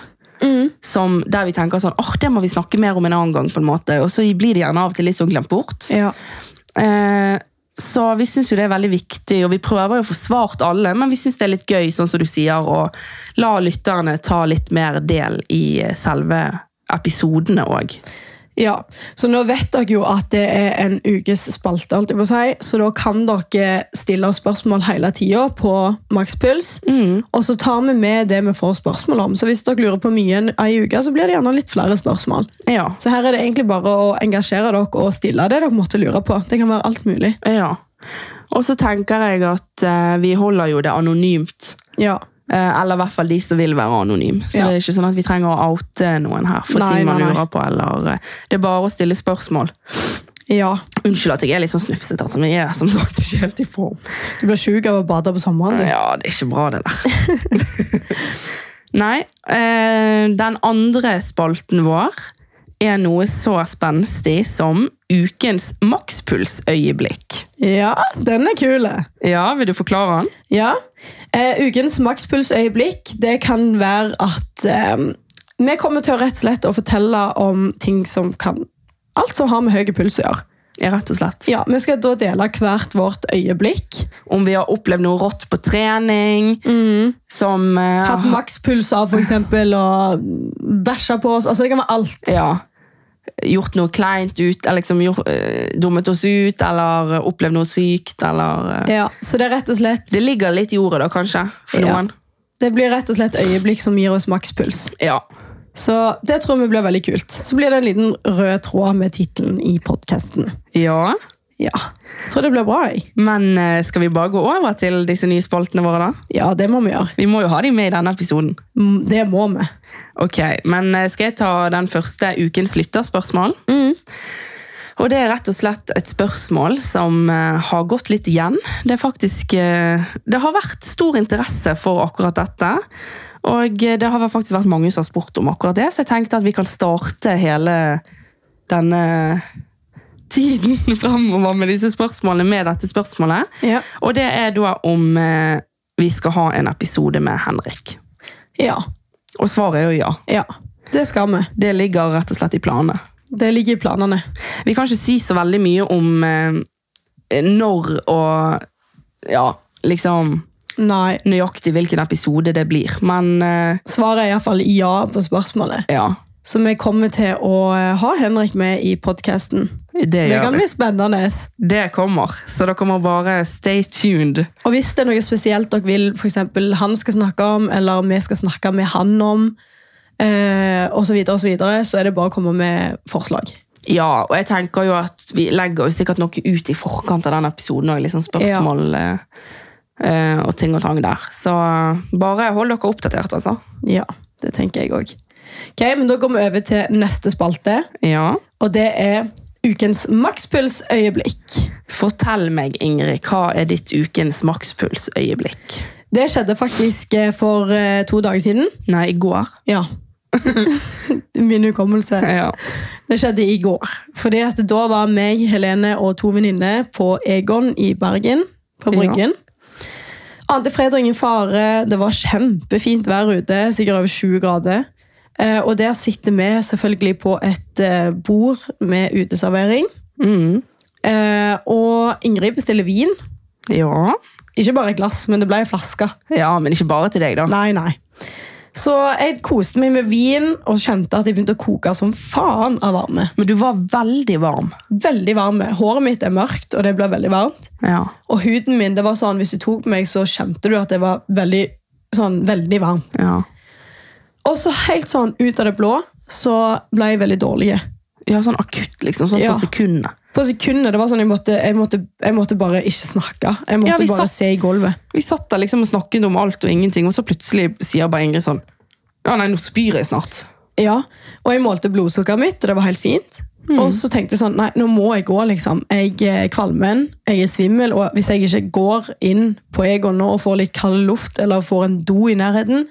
[SPEAKER 2] Mm.
[SPEAKER 1] Som der vi tenker sånn, åh, det må vi snakke mer om en annen gang, på en måte. Og så blir det gjerne av og til litt sånn glemt bort.
[SPEAKER 2] Ja.
[SPEAKER 1] Eh, så vi syns jo det er veldig viktig, og vi prøver jo å få svart alle, men vi syns det er litt gøy, sånn som du sier, å la lytterne ta litt mer del i eh, selve episodene òg.
[SPEAKER 2] Ja, så nå vet dere jo at det er en ukes spalte, alt jeg må si, så da kan dere stille oss spørsmål hele tida på makspuls. Og så tar vi med det vi får spørsmål om. Så hvis dere lurer på mye en- ei uke, så blir det gjerne litt flere spørsmål.
[SPEAKER 1] Ja.
[SPEAKER 2] Så her er det egentlig bare å engasjere dere og stille det dere måtte lure på. Det kan være alt mulig.
[SPEAKER 1] ja. Og så tenker jeg at eh, vi holder jo det anonymt.
[SPEAKER 2] Ja.
[SPEAKER 1] Eh, eller i hvert fall de som vil være anonym. Så
[SPEAKER 2] Ja.
[SPEAKER 1] det er ikke sånn at vi trenger å oute noen her for
[SPEAKER 2] Nei,
[SPEAKER 1] ting man
[SPEAKER 2] nei, nei.
[SPEAKER 1] lurer på. Eller, eh, det er bare å stille spørsmål.
[SPEAKER 2] ja.
[SPEAKER 1] Unnskyld at jeg er litt sånn snufsete, altså, men jeg er som sagt ikke helt i form.
[SPEAKER 2] Du blir sjuk av å bade på sommeren. du.
[SPEAKER 1] Ja, det er ikke bra det der. Nei, eh, den andre spalten vår er noe så spenstig som ukens makspulsøyeblikk.
[SPEAKER 2] Ja, den er kul. eh.
[SPEAKER 1] Ja, vil du forklare den?
[SPEAKER 2] Ja. Eh, ukens makspulsøyeblikk det kan være at eh, vi kommer til å rett og slett å fortelle om ting som kan Alt som har med høy puls å gjøre.
[SPEAKER 1] Ja, rett og slett.
[SPEAKER 2] Ja, Vi skal da dele hvert vårt øyeblikk.
[SPEAKER 1] Om vi har opplevd noe rått på trening, som eh,
[SPEAKER 2] Hatt makspuls av, f.eks., og bæsja på oss. Altså, Det kan være alt.
[SPEAKER 1] ja, gjort noe kleint ut, eller liksom gjort, eh, dummet oss ut, eller opplevd noe sykt, eller eh,
[SPEAKER 2] Ja, Så det er rett og slett
[SPEAKER 1] Det ligger litt i ordet, da, kanskje, for
[SPEAKER 2] Ja.
[SPEAKER 1] noen.
[SPEAKER 2] Det blir rett og slett øyeblikk som gir oss makspuls.
[SPEAKER 1] Ja.
[SPEAKER 2] Så det tror vi blir veldig kult. Så blir det en liten rød tråd med tittelen i podkasten.
[SPEAKER 1] ja.
[SPEAKER 2] Ja. Jeg tror det blir bra. jeg.
[SPEAKER 1] Men eh, skal vi bare gå over til disse nye spaltene våre, da?
[SPEAKER 2] Ja, det må vi gjøre.
[SPEAKER 1] Vi må jo ha de med i denne episoden.
[SPEAKER 2] Mm, Det må vi.
[SPEAKER 1] Ok, men eh, Skal jeg ta den første ukens lytterspørsmål? Og Det er rett og slett et spørsmål som eh, har gått litt igjen. Det er faktisk eh, Det har vært stor interesse for akkurat dette. Og eh, det har vel faktisk vært mange som har spurt om akkurat det, så jeg tenkte at vi kan starte hele denne tiden fremover med disse spørsmålene med dette spørsmålet.
[SPEAKER 2] Ja.
[SPEAKER 1] Og det er da om eh, vi skal ha en episode med Henrik.
[SPEAKER 2] Ja.
[SPEAKER 1] Og svaret er jo ja.
[SPEAKER 2] ja. Det skal vi.
[SPEAKER 1] Det ligger rett og slett i planene.
[SPEAKER 2] Det ligger i planene.
[SPEAKER 1] Vi kan ikke si så veldig mye om eh, når og ja, liksom
[SPEAKER 2] Nei.
[SPEAKER 1] nøyaktig hvilken episode det blir. Men eh,
[SPEAKER 2] Svaret er iallfall ja på spørsmålet.
[SPEAKER 1] ja,
[SPEAKER 2] Så vi kommer til å eh, ha Henrik med i podkasten.
[SPEAKER 1] det,
[SPEAKER 2] Det
[SPEAKER 1] gjør
[SPEAKER 2] kan
[SPEAKER 1] vi.
[SPEAKER 2] bli spennende.
[SPEAKER 1] Det kommer. Så dere må bare stay tuned.
[SPEAKER 2] Og hvis det er noe spesielt dere vil for eksempel, han skal snakke om, eller vi skal snakke med han om, eh, og så, videre, og så, videre, så er det bare å komme med forslag.
[SPEAKER 1] Ja, og jeg tenker jo at vi legger jo sikkert noe ut i forkant av den episoden og liksom spørsmål eh, eh, og ting og tang der. Så eh, bare hold dere oppdatert, altså.
[SPEAKER 2] Ja, det tenker jeg òg. men da går vi over til neste spalte,
[SPEAKER 1] Ja.
[SPEAKER 2] og det er ukens makspulsøyeblikk.
[SPEAKER 1] Fortell meg, Ingrid, hva er ditt ukens makspulsøyeblikk?
[SPEAKER 2] Det skjedde faktisk eh, for eh, to dager siden.
[SPEAKER 1] Nei, i går.
[SPEAKER 2] Ja. Min hukommelse.
[SPEAKER 1] Ja.
[SPEAKER 2] Det skjedde i går. Fordi at da var meg, Helene og to venninner på Egon i Bergen, på Bryggen. Ante fred og ingen fare. Det var kjempefint vær ute, sikkert over 20 grader. Eh, og der sitter vi selvfølgelig på et eh, bord med uteservering.
[SPEAKER 1] Mm.
[SPEAKER 2] Eh, og Ingrid bestiller vin.
[SPEAKER 1] ja.
[SPEAKER 2] Ikke bare et glass, men det ble ei flaske.
[SPEAKER 1] Ja, men ikke bare til deg, da.
[SPEAKER 2] Nei, nei. Så jeg koste meg med vin og kjente at jeg begynte å koke som faen av varme.
[SPEAKER 1] Men du var veldig varm.
[SPEAKER 2] Veldig varme. Håret mitt er mørkt, og det ble veldig varmt.
[SPEAKER 1] Ja.
[SPEAKER 2] Og huden min, det var sånn, hvis du tok på meg, så kjente du at det var veldig, sånn, veldig varm.
[SPEAKER 1] Ja,
[SPEAKER 2] Og så helt sånn, ut av det blå, så ble jeg veldig dårlig.
[SPEAKER 1] ja sånn akutt, liksom. Sånn
[SPEAKER 2] Ja.
[SPEAKER 1] på sekundet.
[SPEAKER 2] På sekundet, det var sånn, jeg måtte, jeg måtte, jeg måtte bare ikke snakke. Jeg måtte
[SPEAKER 1] Ja, vi
[SPEAKER 2] bare
[SPEAKER 1] satt-
[SPEAKER 2] se i gulvet.
[SPEAKER 1] Vi satt der liksom og snakket om alt og ingenting, og så plutselig sier bare Ingrid sånn Ja, nei, nå spyr jeg snart.
[SPEAKER 2] Ja, og jeg målte blodsukkeret mitt, og det var helt fint. Og så tenkte jeg sånn, nei, nå må jeg gå, liksom. Jeg er kvalmen, jeg er svimmel, og hvis jeg ikke går inn på Egon nå og får litt kald luft, eller får en do i nærheten,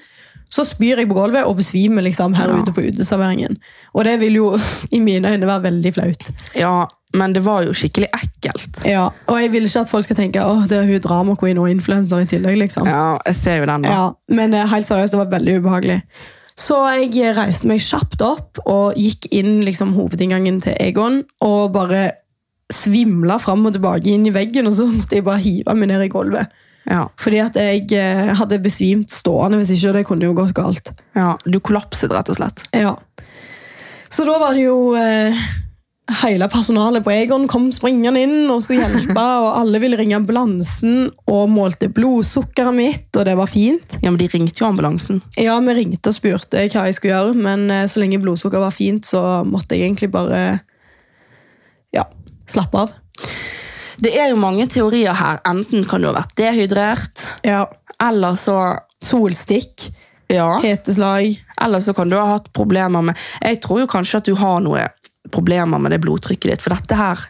[SPEAKER 2] så spyr jeg på gulvet og besvimer liksom her ute på uteserveringen. Og det vil jo i mine øyne være veldig flaut.
[SPEAKER 1] Ja, men det var jo skikkelig ekkelt.
[SPEAKER 2] Ja. Og jeg vil ikke at folk skal tenke, åh, det er hun drama queen og influencer i tillegg, liksom.
[SPEAKER 1] Ja, jeg ser jo den, da.
[SPEAKER 2] Ja, men eh, helt seriøst, det var veldig ubehagelig. Så jeg eh, reiste meg kjapt opp og gikk inn liksom, hovedinngangen til Egon og bare svimla fram og tilbake inn i veggen, og så måtte jeg bare hive meg ned i gulvet.
[SPEAKER 1] Ja.
[SPEAKER 2] Fordi at jeg eh, hadde besvimt stående, hvis ikke og det kunne jo gått galt.
[SPEAKER 1] ja. Du kollapset, rett og slett.
[SPEAKER 2] Ja. Så da var det jo eh, Hele personalet på Egon kom springende inn og skulle hjelpe, og alle ville ringe ambulansen og målte blodsukkeret mitt, og det var fint.
[SPEAKER 1] Ja, men de ringte jo ambulansen.
[SPEAKER 2] Ja, vi ringte og spurte hva jeg skulle gjøre, men eh, så lenge blodsukkeret var fint, så måtte jeg egentlig bare ja, slappe av.
[SPEAKER 1] Det er jo mange teorier her. Enten kan du ha vært dehydrert,
[SPEAKER 2] Ja. Ah.
[SPEAKER 1] eller så
[SPEAKER 2] Solstikk,
[SPEAKER 1] Ja.
[SPEAKER 2] heteslag.
[SPEAKER 1] Eller så kan du ha hatt problemer med Jeg tror jo kanskje at du har noe problemer med det blodtrykket ditt. For dette her,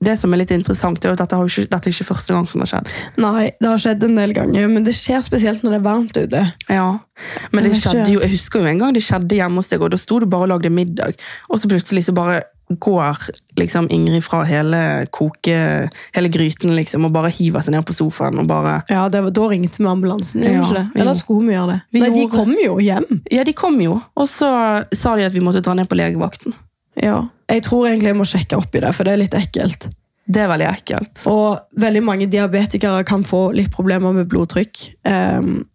[SPEAKER 1] det som er litt interessant, er jo at dette, har jo ikke, dette er ikke første gang som har skjedd.
[SPEAKER 2] Nei, det har skjedd en del ganger, men det skjer spesielt når det er varmt ute.
[SPEAKER 1] Ja. Men det
[SPEAKER 2] Jeg vet
[SPEAKER 1] skjedde
[SPEAKER 2] ikke.
[SPEAKER 1] jo, jeg husker jo en gang det skjedde hjemme hos deg, og da sto du bare og lagde middag. Og så plutselig så bare går liksom Ingrid fra hele koke, hele gryten liksom, og bare hiver seg ned på sofaen og bare
[SPEAKER 2] Ja, det var, Da ringte vi ambulansen. gjorde
[SPEAKER 1] Ja,
[SPEAKER 2] vi ikke
[SPEAKER 1] vi
[SPEAKER 2] det? Eller
[SPEAKER 1] gjorde-
[SPEAKER 2] skulle vi gjøre det?
[SPEAKER 1] Vi
[SPEAKER 2] Nei, De
[SPEAKER 1] gjorde-
[SPEAKER 2] kom jo hjem.
[SPEAKER 1] Ja, de kom jo, og så sa de at vi måtte dra ned på legevakten.
[SPEAKER 2] Ja. Jeg tror egentlig jeg må sjekke opp i det, for det er litt ekkelt.
[SPEAKER 1] Det er veldig ekkelt.
[SPEAKER 2] Og veldig mange diabetikere kan få litt problemer med blodtrykk. Um,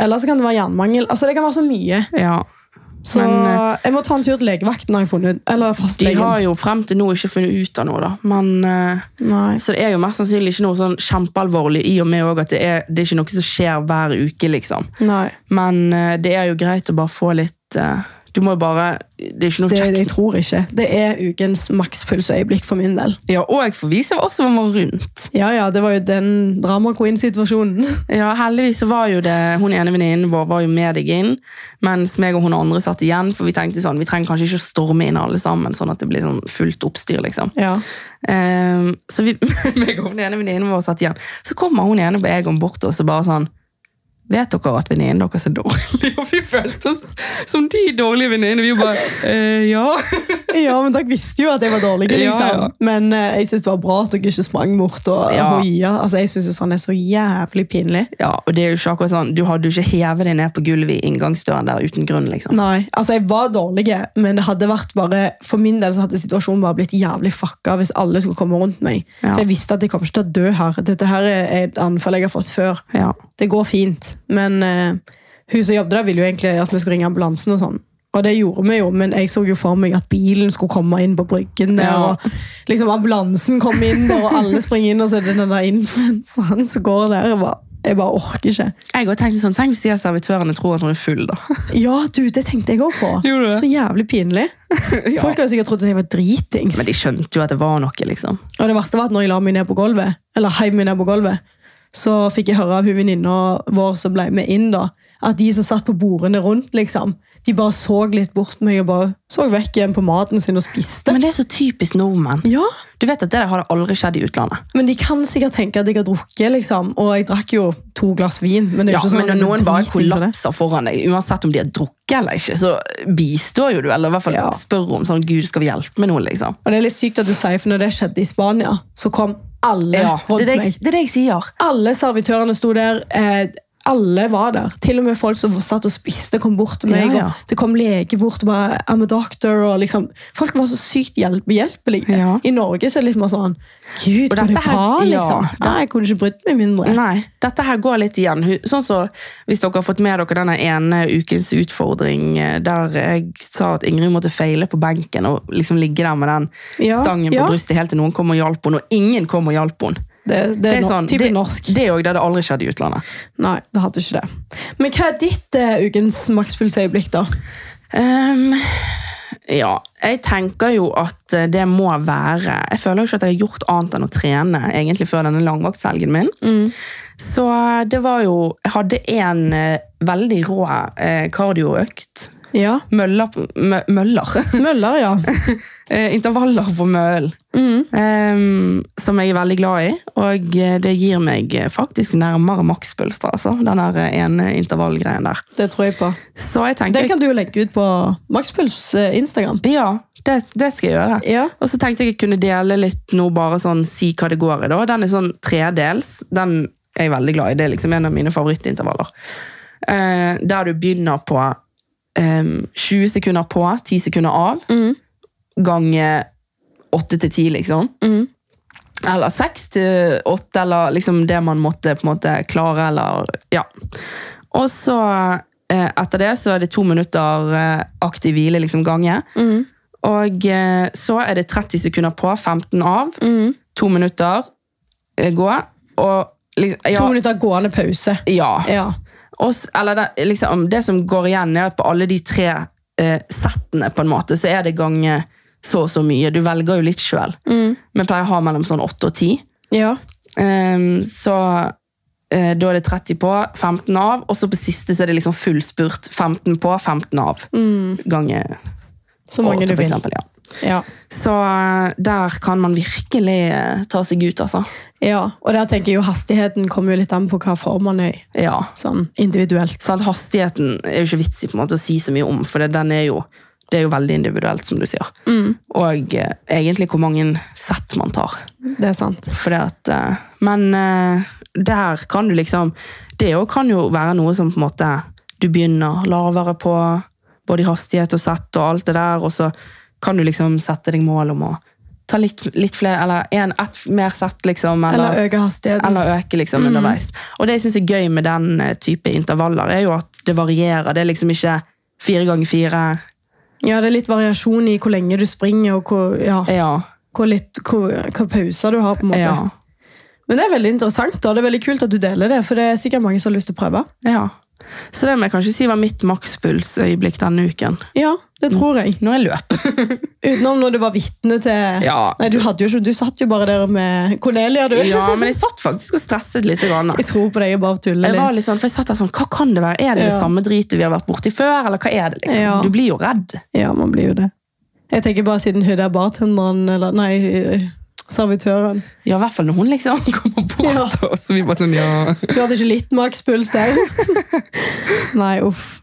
[SPEAKER 2] eller så kan det være jernmangel. Altså, Det kan være så mye.
[SPEAKER 1] Ja.
[SPEAKER 2] Så
[SPEAKER 1] Men,
[SPEAKER 2] jeg må ta en tur til legevakten, har jeg funnet ut. Eller
[SPEAKER 1] De
[SPEAKER 2] fastlegen.
[SPEAKER 1] har jo frem til nå ikke funnet ut av noe, da. Men, eh,
[SPEAKER 2] Nei.
[SPEAKER 1] så det er jo mest sannsynlig ikke noe sånn kjempealvorlig i og med også at det er, det er ikke noe som skjer hver uke, liksom.
[SPEAKER 2] Nei.
[SPEAKER 1] Men eh, det er jo greit å bare få litt eh, Du må jo bare Det er ikke noe
[SPEAKER 2] Det, jeg
[SPEAKER 1] kjekt.
[SPEAKER 2] tror ikke. Det er ukens makspulsøyeblikk for min del.
[SPEAKER 1] Ja, og jeg får vise oss hva man var rundt.
[SPEAKER 2] Ja, ja, det var jo den drama queen-situasjonen.
[SPEAKER 1] Ja, Heldigvis så var jo det hun ene venninnen vår var jo med deg inn, mens meg og hun andre satt igjen, for vi tenkte sånn Vi trenger kanskje ikke å storme inn alle sammen, sånn at det blir sånn fullt oppstyr, liksom.
[SPEAKER 2] Ja.
[SPEAKER 1] Ehm, så vi, meg og den ene venninnen vår satt igjen. Så kommer hun ene på Egon bort og så bare sånn Vet dere at venninnen deres er dårlig? Og vi følte oss som de dårlige venninnene. Vi bare eh, Ja.
[SPEAKER 2] ja, men dere visste jo at jeg var dårlig,
[SPEAKER 1] Ja, ja.
[SPEAKER 2] liksom. Men eh, jeg syns det var bra at dere ikke sprang bort og
[SPEAKER 1] Ja.
[SPEAKER 2] hoia. Altså, jeg syns sånn er så jævlig pinlig.
[SPEAKER 1] ja. Og det er jo ikke akkurat sånn Du hadde jo ikke hevet deg ned på gulvet i inngangsdøren der uten grunn, liksom.
[SPEAKER 2] Nei, altså jeg var dårlig, men det hadde vært bare, for min del så hadde situasjonen bare blitt jævlig fucka hvis alle skulle komme rundt meg.
[SPEAKER 1] Ja.
[SPEAKER 2] For jeg visste at jeg kom ikke til å dø her. Dette her er et anfall jeg har fått før.
[SPEAKER 1] Ja.
[SPEAKER 2] det går fint. Men eh, hun som jobbet der, ville jo egentlig at vi skulle ringe ambulansen. Og sånn. Og det gjorde vi jo, men jeg så jo for meg at bilen skulle komme inn på bryggen. der,
[SPEAKER 1] Ja.
[SPEAKER 2] og liksom Ambulansen kom inn, der, og alle springer inn, og så er det den der influenseren som går der. Jeg bare, jeg bare orker ikke.
[SPEAKER 1] Jeg også tenkte sånn, Tenk hvis de av servitørene tror at hun er full, da.
[SPEAKER 2] Ja, du, det tenkte jeg òg på.
[SPEAKER 1] Gjorde du det?
[SPEAKER 2] Så jævlig pinlig.
[SPEAKER 1] Ja.
[SPEAKER 2] Folk har jo sikkert trodd at jeg var dritings.
[SPEAKER 1] Men de skjønte jo at det var noe, liksom.
[SPEAKER 2] Og det verste var at når jeg la meg ned på gulvet, eller heiv meg ned på gulvet, så fikk jeg høre av hun venninna vår som ble med inn, da, at de som satt på bordene rundt, liksom, de bare så litt bort på meg og bare så vekk igjen på maten sin og spiste.
[SPEAKER 1] Men det er så typisk nordmenn.
[SPEAKER 2] ja,
[SPEAKER 1] Du vet at det der har aldri skjedd i utlandet.
[SPEAKER 2] men de kan sikkert tenke at jeg har drukket, liksom. Og jeg drakk jo to glass vin. Men det
[SPEAKER 1] Ja,
[SPEAKER 2] er jo ikke sånn
[SPEAKER 1] men når
[SPEAKER 2] at det
[SPEAKER 1] noen bare
[SPEAKER 2] driter i seg det.
[SPEAKER 1] kollapser foran deg, uansett om de har drukket eller ikke, så bistår jo du, eller i hvert fall
[SPEAKER 2] Ja.
[SPEAKER 1] spør om sånn, Gud, skal vi hjelpe med noe, liksom?
[SPEAKER 2] Og det er litt sykt at du sier, for når det skjedde i Spania, så kom alle
[SPEAKER 1] Ja, det
[SPEAKER 2] rundt
[SPEAKER 1] er det
[SPEAKER 2] meg.
[SPEAKER 1] jeg, det er det jeg sier.
[SPEAKER 2] Alle servitørene sto der. Eh, alle var der. Til og med folk som satt og spiste, kom bort til meg.
[SPEAKER 1] Ja, ja.
[SPEAKER 2] Og det kom lege bort og bare I'm a doctor. Og liksom, folk var så sykt hjelp- hjelpelige.
[SPEAKER 1] Ja.
[SPEAKER 2] I Norge så er det litt mer sånn Gud,
[SPEAKER 1] Og
[SPEAKER 2] går det
[SPEAKER 1] dette her-
[SPEAKER 2] bra?
[SPEAKER 1] ja,
[SPEAKER 2] liksom?
[SPEAKER 1] det-
[SPEAKER 2] Nei, jeg kunne ikke brydd meg mindre.
[SPEAKER 1] Nei, dette her går litt igjen. Hu- Sånn så, hvis dere har fått med dere denne ene ukens utfordring eh, der jeg sa at Ingrid måtte feile på benken og liksom ligge der med den
[SPEAKER 2] Ja,
[SPEAKER 1] stangen på
[SPEAKER 2] ja.
[SPEAKER 1] brystet helt til noen kom og hjalp henne, og ingen kom og hjalp henne.
[SPEAKER 2] Det, det, er no
[SPEAKER 1] sånn,
[SPEAKER 2] typisk
[SPEAKER 1] det-
[SPEAKER 2] norsk.
[SPEAKER 1] Det òg, det hadde aldri skjedd i utlandet.
[SPEAKER 2] Nei, det hadde ikke det. Men hva er ditt eh, ukens makspulsøyeblikk, da?
[SPEAKER 1] Ehm, ja, jeg tenker jo at eh, det må være Jeg føler jo ikke at jeg har gjort annet enn å trene egentlig før denne langvaktselgen min. Så eh, det var jo Jeg hadde en eh, veldig rå eh, kardioøkt.
[SPEAKER 2] Ja.
[SPEAKER 1] Møller, på- mø, møller.
[SPEAKER 2] Møller, ja.
[SPEAKER 1] Eh, Intervaller på møll. Ehm, som jeg er veldig glad i. Og eh, det gir meg eh, faktisk nærmere makspuls, da, altså. Den der eh, ene intervallgreien der.
[SPEAKER 2] Det tror jeg på.
[SPEAKER 1] Så jeg tenker
[SPEAKER 2] Den kan du jo legge ut på Makspuls eh, Instagram.
[SPEAKER 1] Ja, det, det skal jeg gjøre.
[SPEAKER 2] Ja.
[SPEAKER 1] Og så tenkte jeg jeg kunne dele litt nå, bare sånn si hva det går i. da. Den er sånn tredels. Den er jeg veldig glad i. Det er liksom en av mine favorittintervaller. Eh, der du begynner på em, 20 sekunder på, 10 sekunder av, ganger 8 til 10, liksom. Eller 6 til 8, eller liksom det man måtte på en måte klare, eller ja. Og så eh, etter det så er det to minutter eh, aktiv hvile, liksom gange. Og eh, så er det 30 sekunder på, 15 av. To minutter eh, gå. Og liksom
[SPEAKER 2] To
[SPEAKER 1] Ja.
[SPEAKER 2] minutter gående pause.
[SPEAKER 1] ja.
[SPEAKER 2] Ja.
[SPEAKER 1] Og, s- eller det, liksom, det som går igjen, er at på alle de tre eh, settene på en måte, så er det gange så og så mye. Du velger jo litt sjøl,
[SPEAKER 2] Mm.
[SPEAKER 1] men pleier å ha mellom sånn 8 og 10.
[SPEAKER 2] ja.
[SPEAKER 1] Ehm, så eh, da er det 30 på, 15 av, og så på siste så er det liksom full spurt. 15 på, 15 av. Gange
[SPEAKER 2] Så Mm. mange
[SPEAKER 1] 8,
[SPEAKER 2] du
[SPEAKER 1] for
[SPEAKER 2] vil.
[SPEAKER 1] eksempel. Ja.
[SPEAKER 2] Ja.
[SPEAKER 1] Så eh, der kan man virkelig eh, ta seg ut, altså.
[SPEAKER 2] ja. Og der tenker jeg jo hastigheten kommer jo litt an på hva form man er i.
[SPEAKER 1] Ja.
[SPEAKER 2] Sånn individuelt.
[SPEAKER 1] Sånn, at hastigheten er jo ikke vits i på en måte å si så mye om, for det, den er jo, det er jo veldig individuelt, som du sier. Og eh, egentlig hvor mange sett man tar.
[SPEAKER 2] Det er sant.
[SPEAKER 1] For det at, eh, men eh, der kan du liksom Det jo kan jo være noe som på en måte du begynner lavere på, både i hastighet og sett og alt det der, og så kan du liksom sette deg mål om å ta litt, litt flere, eller en, ett mer sett, liksom. Eller,
[SPEAKER 2] Eller øke hastigheten.
[SPEAKER 1] eller øke liksom underveis. Og det jeg synes er gøy med den eh, type intervaller, er jo at det varierer. Det er liksom ikke fire ganger fire.
[SPEAKER 2] Ja, det er litt variasjon i hvor lenge du springer, og hvor, ja,
[SPEAKER 1] Ja.
[SPEAKER 2] hvor litt, hvor, hva pauser du har. på en måte.
[SPEAKER 1] Ja.
[SPEAKER 2] Men det er veldig interessant, og det er veldig kult at du deler det, for det er sikkert mange som har lyst til å prøve.
[SPEAKER 1] ja. Så det må jeg kanskje si var mitt makspulsøyeblikk denne uken.
[SPEAKER 2] Ja, det
[SPEAKER 1] Mm.
[SPEAKER 2] tror jeg.
[SPEAKER 1] Når jeg løp.
[SPEAKER 2] Utenom når du var vitne til
[SPEAKER 1] Ja.
[SPEAKER 2] Nei, du, hadde jo ikke, du satt jo bare der med Cornelia, du.
[SPEAKER 1] Ja, men jeg satt faktisk og stresset litt. Grann.
[SPEAKER 2] Jeg tror på deg, jeg bare tuller
[SPEAKER 1] Jeg var
[SPEAKER 2] litt.
[SPEAKER 1] litt sånn, for jeg satt der sånn, Hva kan det være? Er det det
[SPEAKER 2] Ja.
[SPEAKER 1] samme dritet vi har vært borti før? eller hva er det liksom?
[SPEAKER 2] Ja.
[SPEAKER 1] Du blir jo redd.
[SPEAKER 2] Ja, man blir jo det. Jeg tenker bare siden hun der bartenderen, eller nei, servitøren.
[SPEAKER 1] Ja, I hvert fall når hun liksom kommer bort
[SPEAKER 2] Ja.
[SPEAKER 1] til oss. og Vi bare sånn, ja.
[SPEAKER 2] Hun hadde ikke litt makspuls der. nei, uff.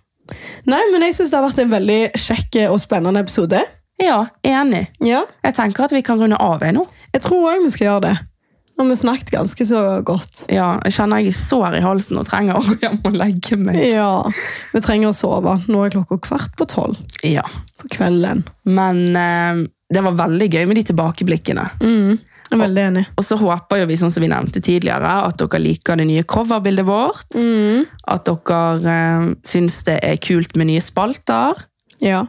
[SPEAKER 2] Nei, men jeg syns det har vært en veldig kjekk og spennende episode.
[SPEAKER 1] ja, enig.
[SPEAKER 2] Ja,
[SPEAKER 1] Jeg tenker at vi kan runde av jeg nå.
[SPEAKER 2] Jeg tror òg vi skal gjøre det. Nå har vi snakket ganske så godt.
[SPEAKER 1] Ja, jeg kjenner jeg er sår i halsen og trenger å gå hjem og legge meg.
[SPEAKER 2] Ja, Vi trenger å sove. Nå er klokka kvart på tolv
[SPEAKER 1] Ja.
[SPEAKER 2] på kvelden.
[SPEAKER 1] Men eh, det var veldig gøy med de tilbakeblikkene.
[SPEAKER 2] Jeg er veldig enig.
[SPEAKER 1] Og så håper jo vi, sånn som vi nevnte tidligere, at dere liker det nye coverbildet vårt. At dere eh, syns det er kult med nye spalter.
[SPEAKER 2] Ja.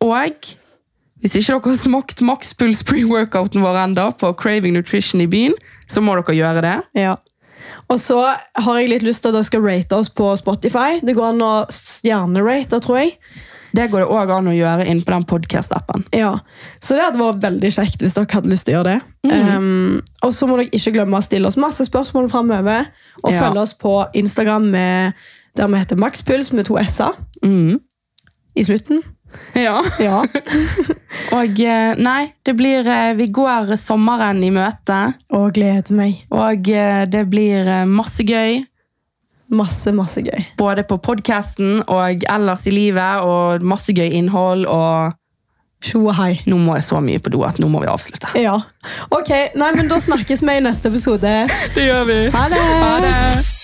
[SPEAKER 1] Og hvis ikke dere har smakt makspuls pre-workouten vår enda på Craving Nutrition i byen, så må dere gjøre det.
[SPEAKER 2] Ja. Og så har jeg litt lyst til at dere skal rate oss på Spotify. Det går an å stjernerate, tror jeg.
[SPEAKER 1] Det går det òg an å gjøre inn på den podkast-appen.
[SPEAKER 2] Ja, Så det hadde vært veldig kjekt hvis dere hadde lyst til å gjøre det. Um, og så må dere ikke glemme å stille oss masse spørsmål framover. Og
[SPEAKER 1] Ja.
[SPEAKER 2] følge oss på Instagram med, der vi heter makspuls med to s-er
[SPEAKER 1] Mm.
[SPEAKER 2] i slutten.
[SPEAKER 1] Ja.
[SPEAKER 2] Ja.
[SPEAKER 1] Og eh, nei, det blir eh, Vi går sommeren i møte,
[SPEAKER 2] Og gleder meg.
[SPEAKER 1] og eh, det blir eh, masse gøy.
[SPEAKER 2] Masse, masse gøy.
[SPEAKER 1] Både på podkasten og ellers i livet, og masse gøy innhold. Og
[SPEAKER 2] Tjo og hei.
[SPEAKER 1] nå må jeg så mye på do at nå må vi avslutte.
[SPEAKER 2] Ja. Ok, nei, men da snakkes vi i neste episode.
[SPEAKER 1] Det gjør vi.
[SPEAKER 2] Ha det!
[SPEAKER 1] Ha det.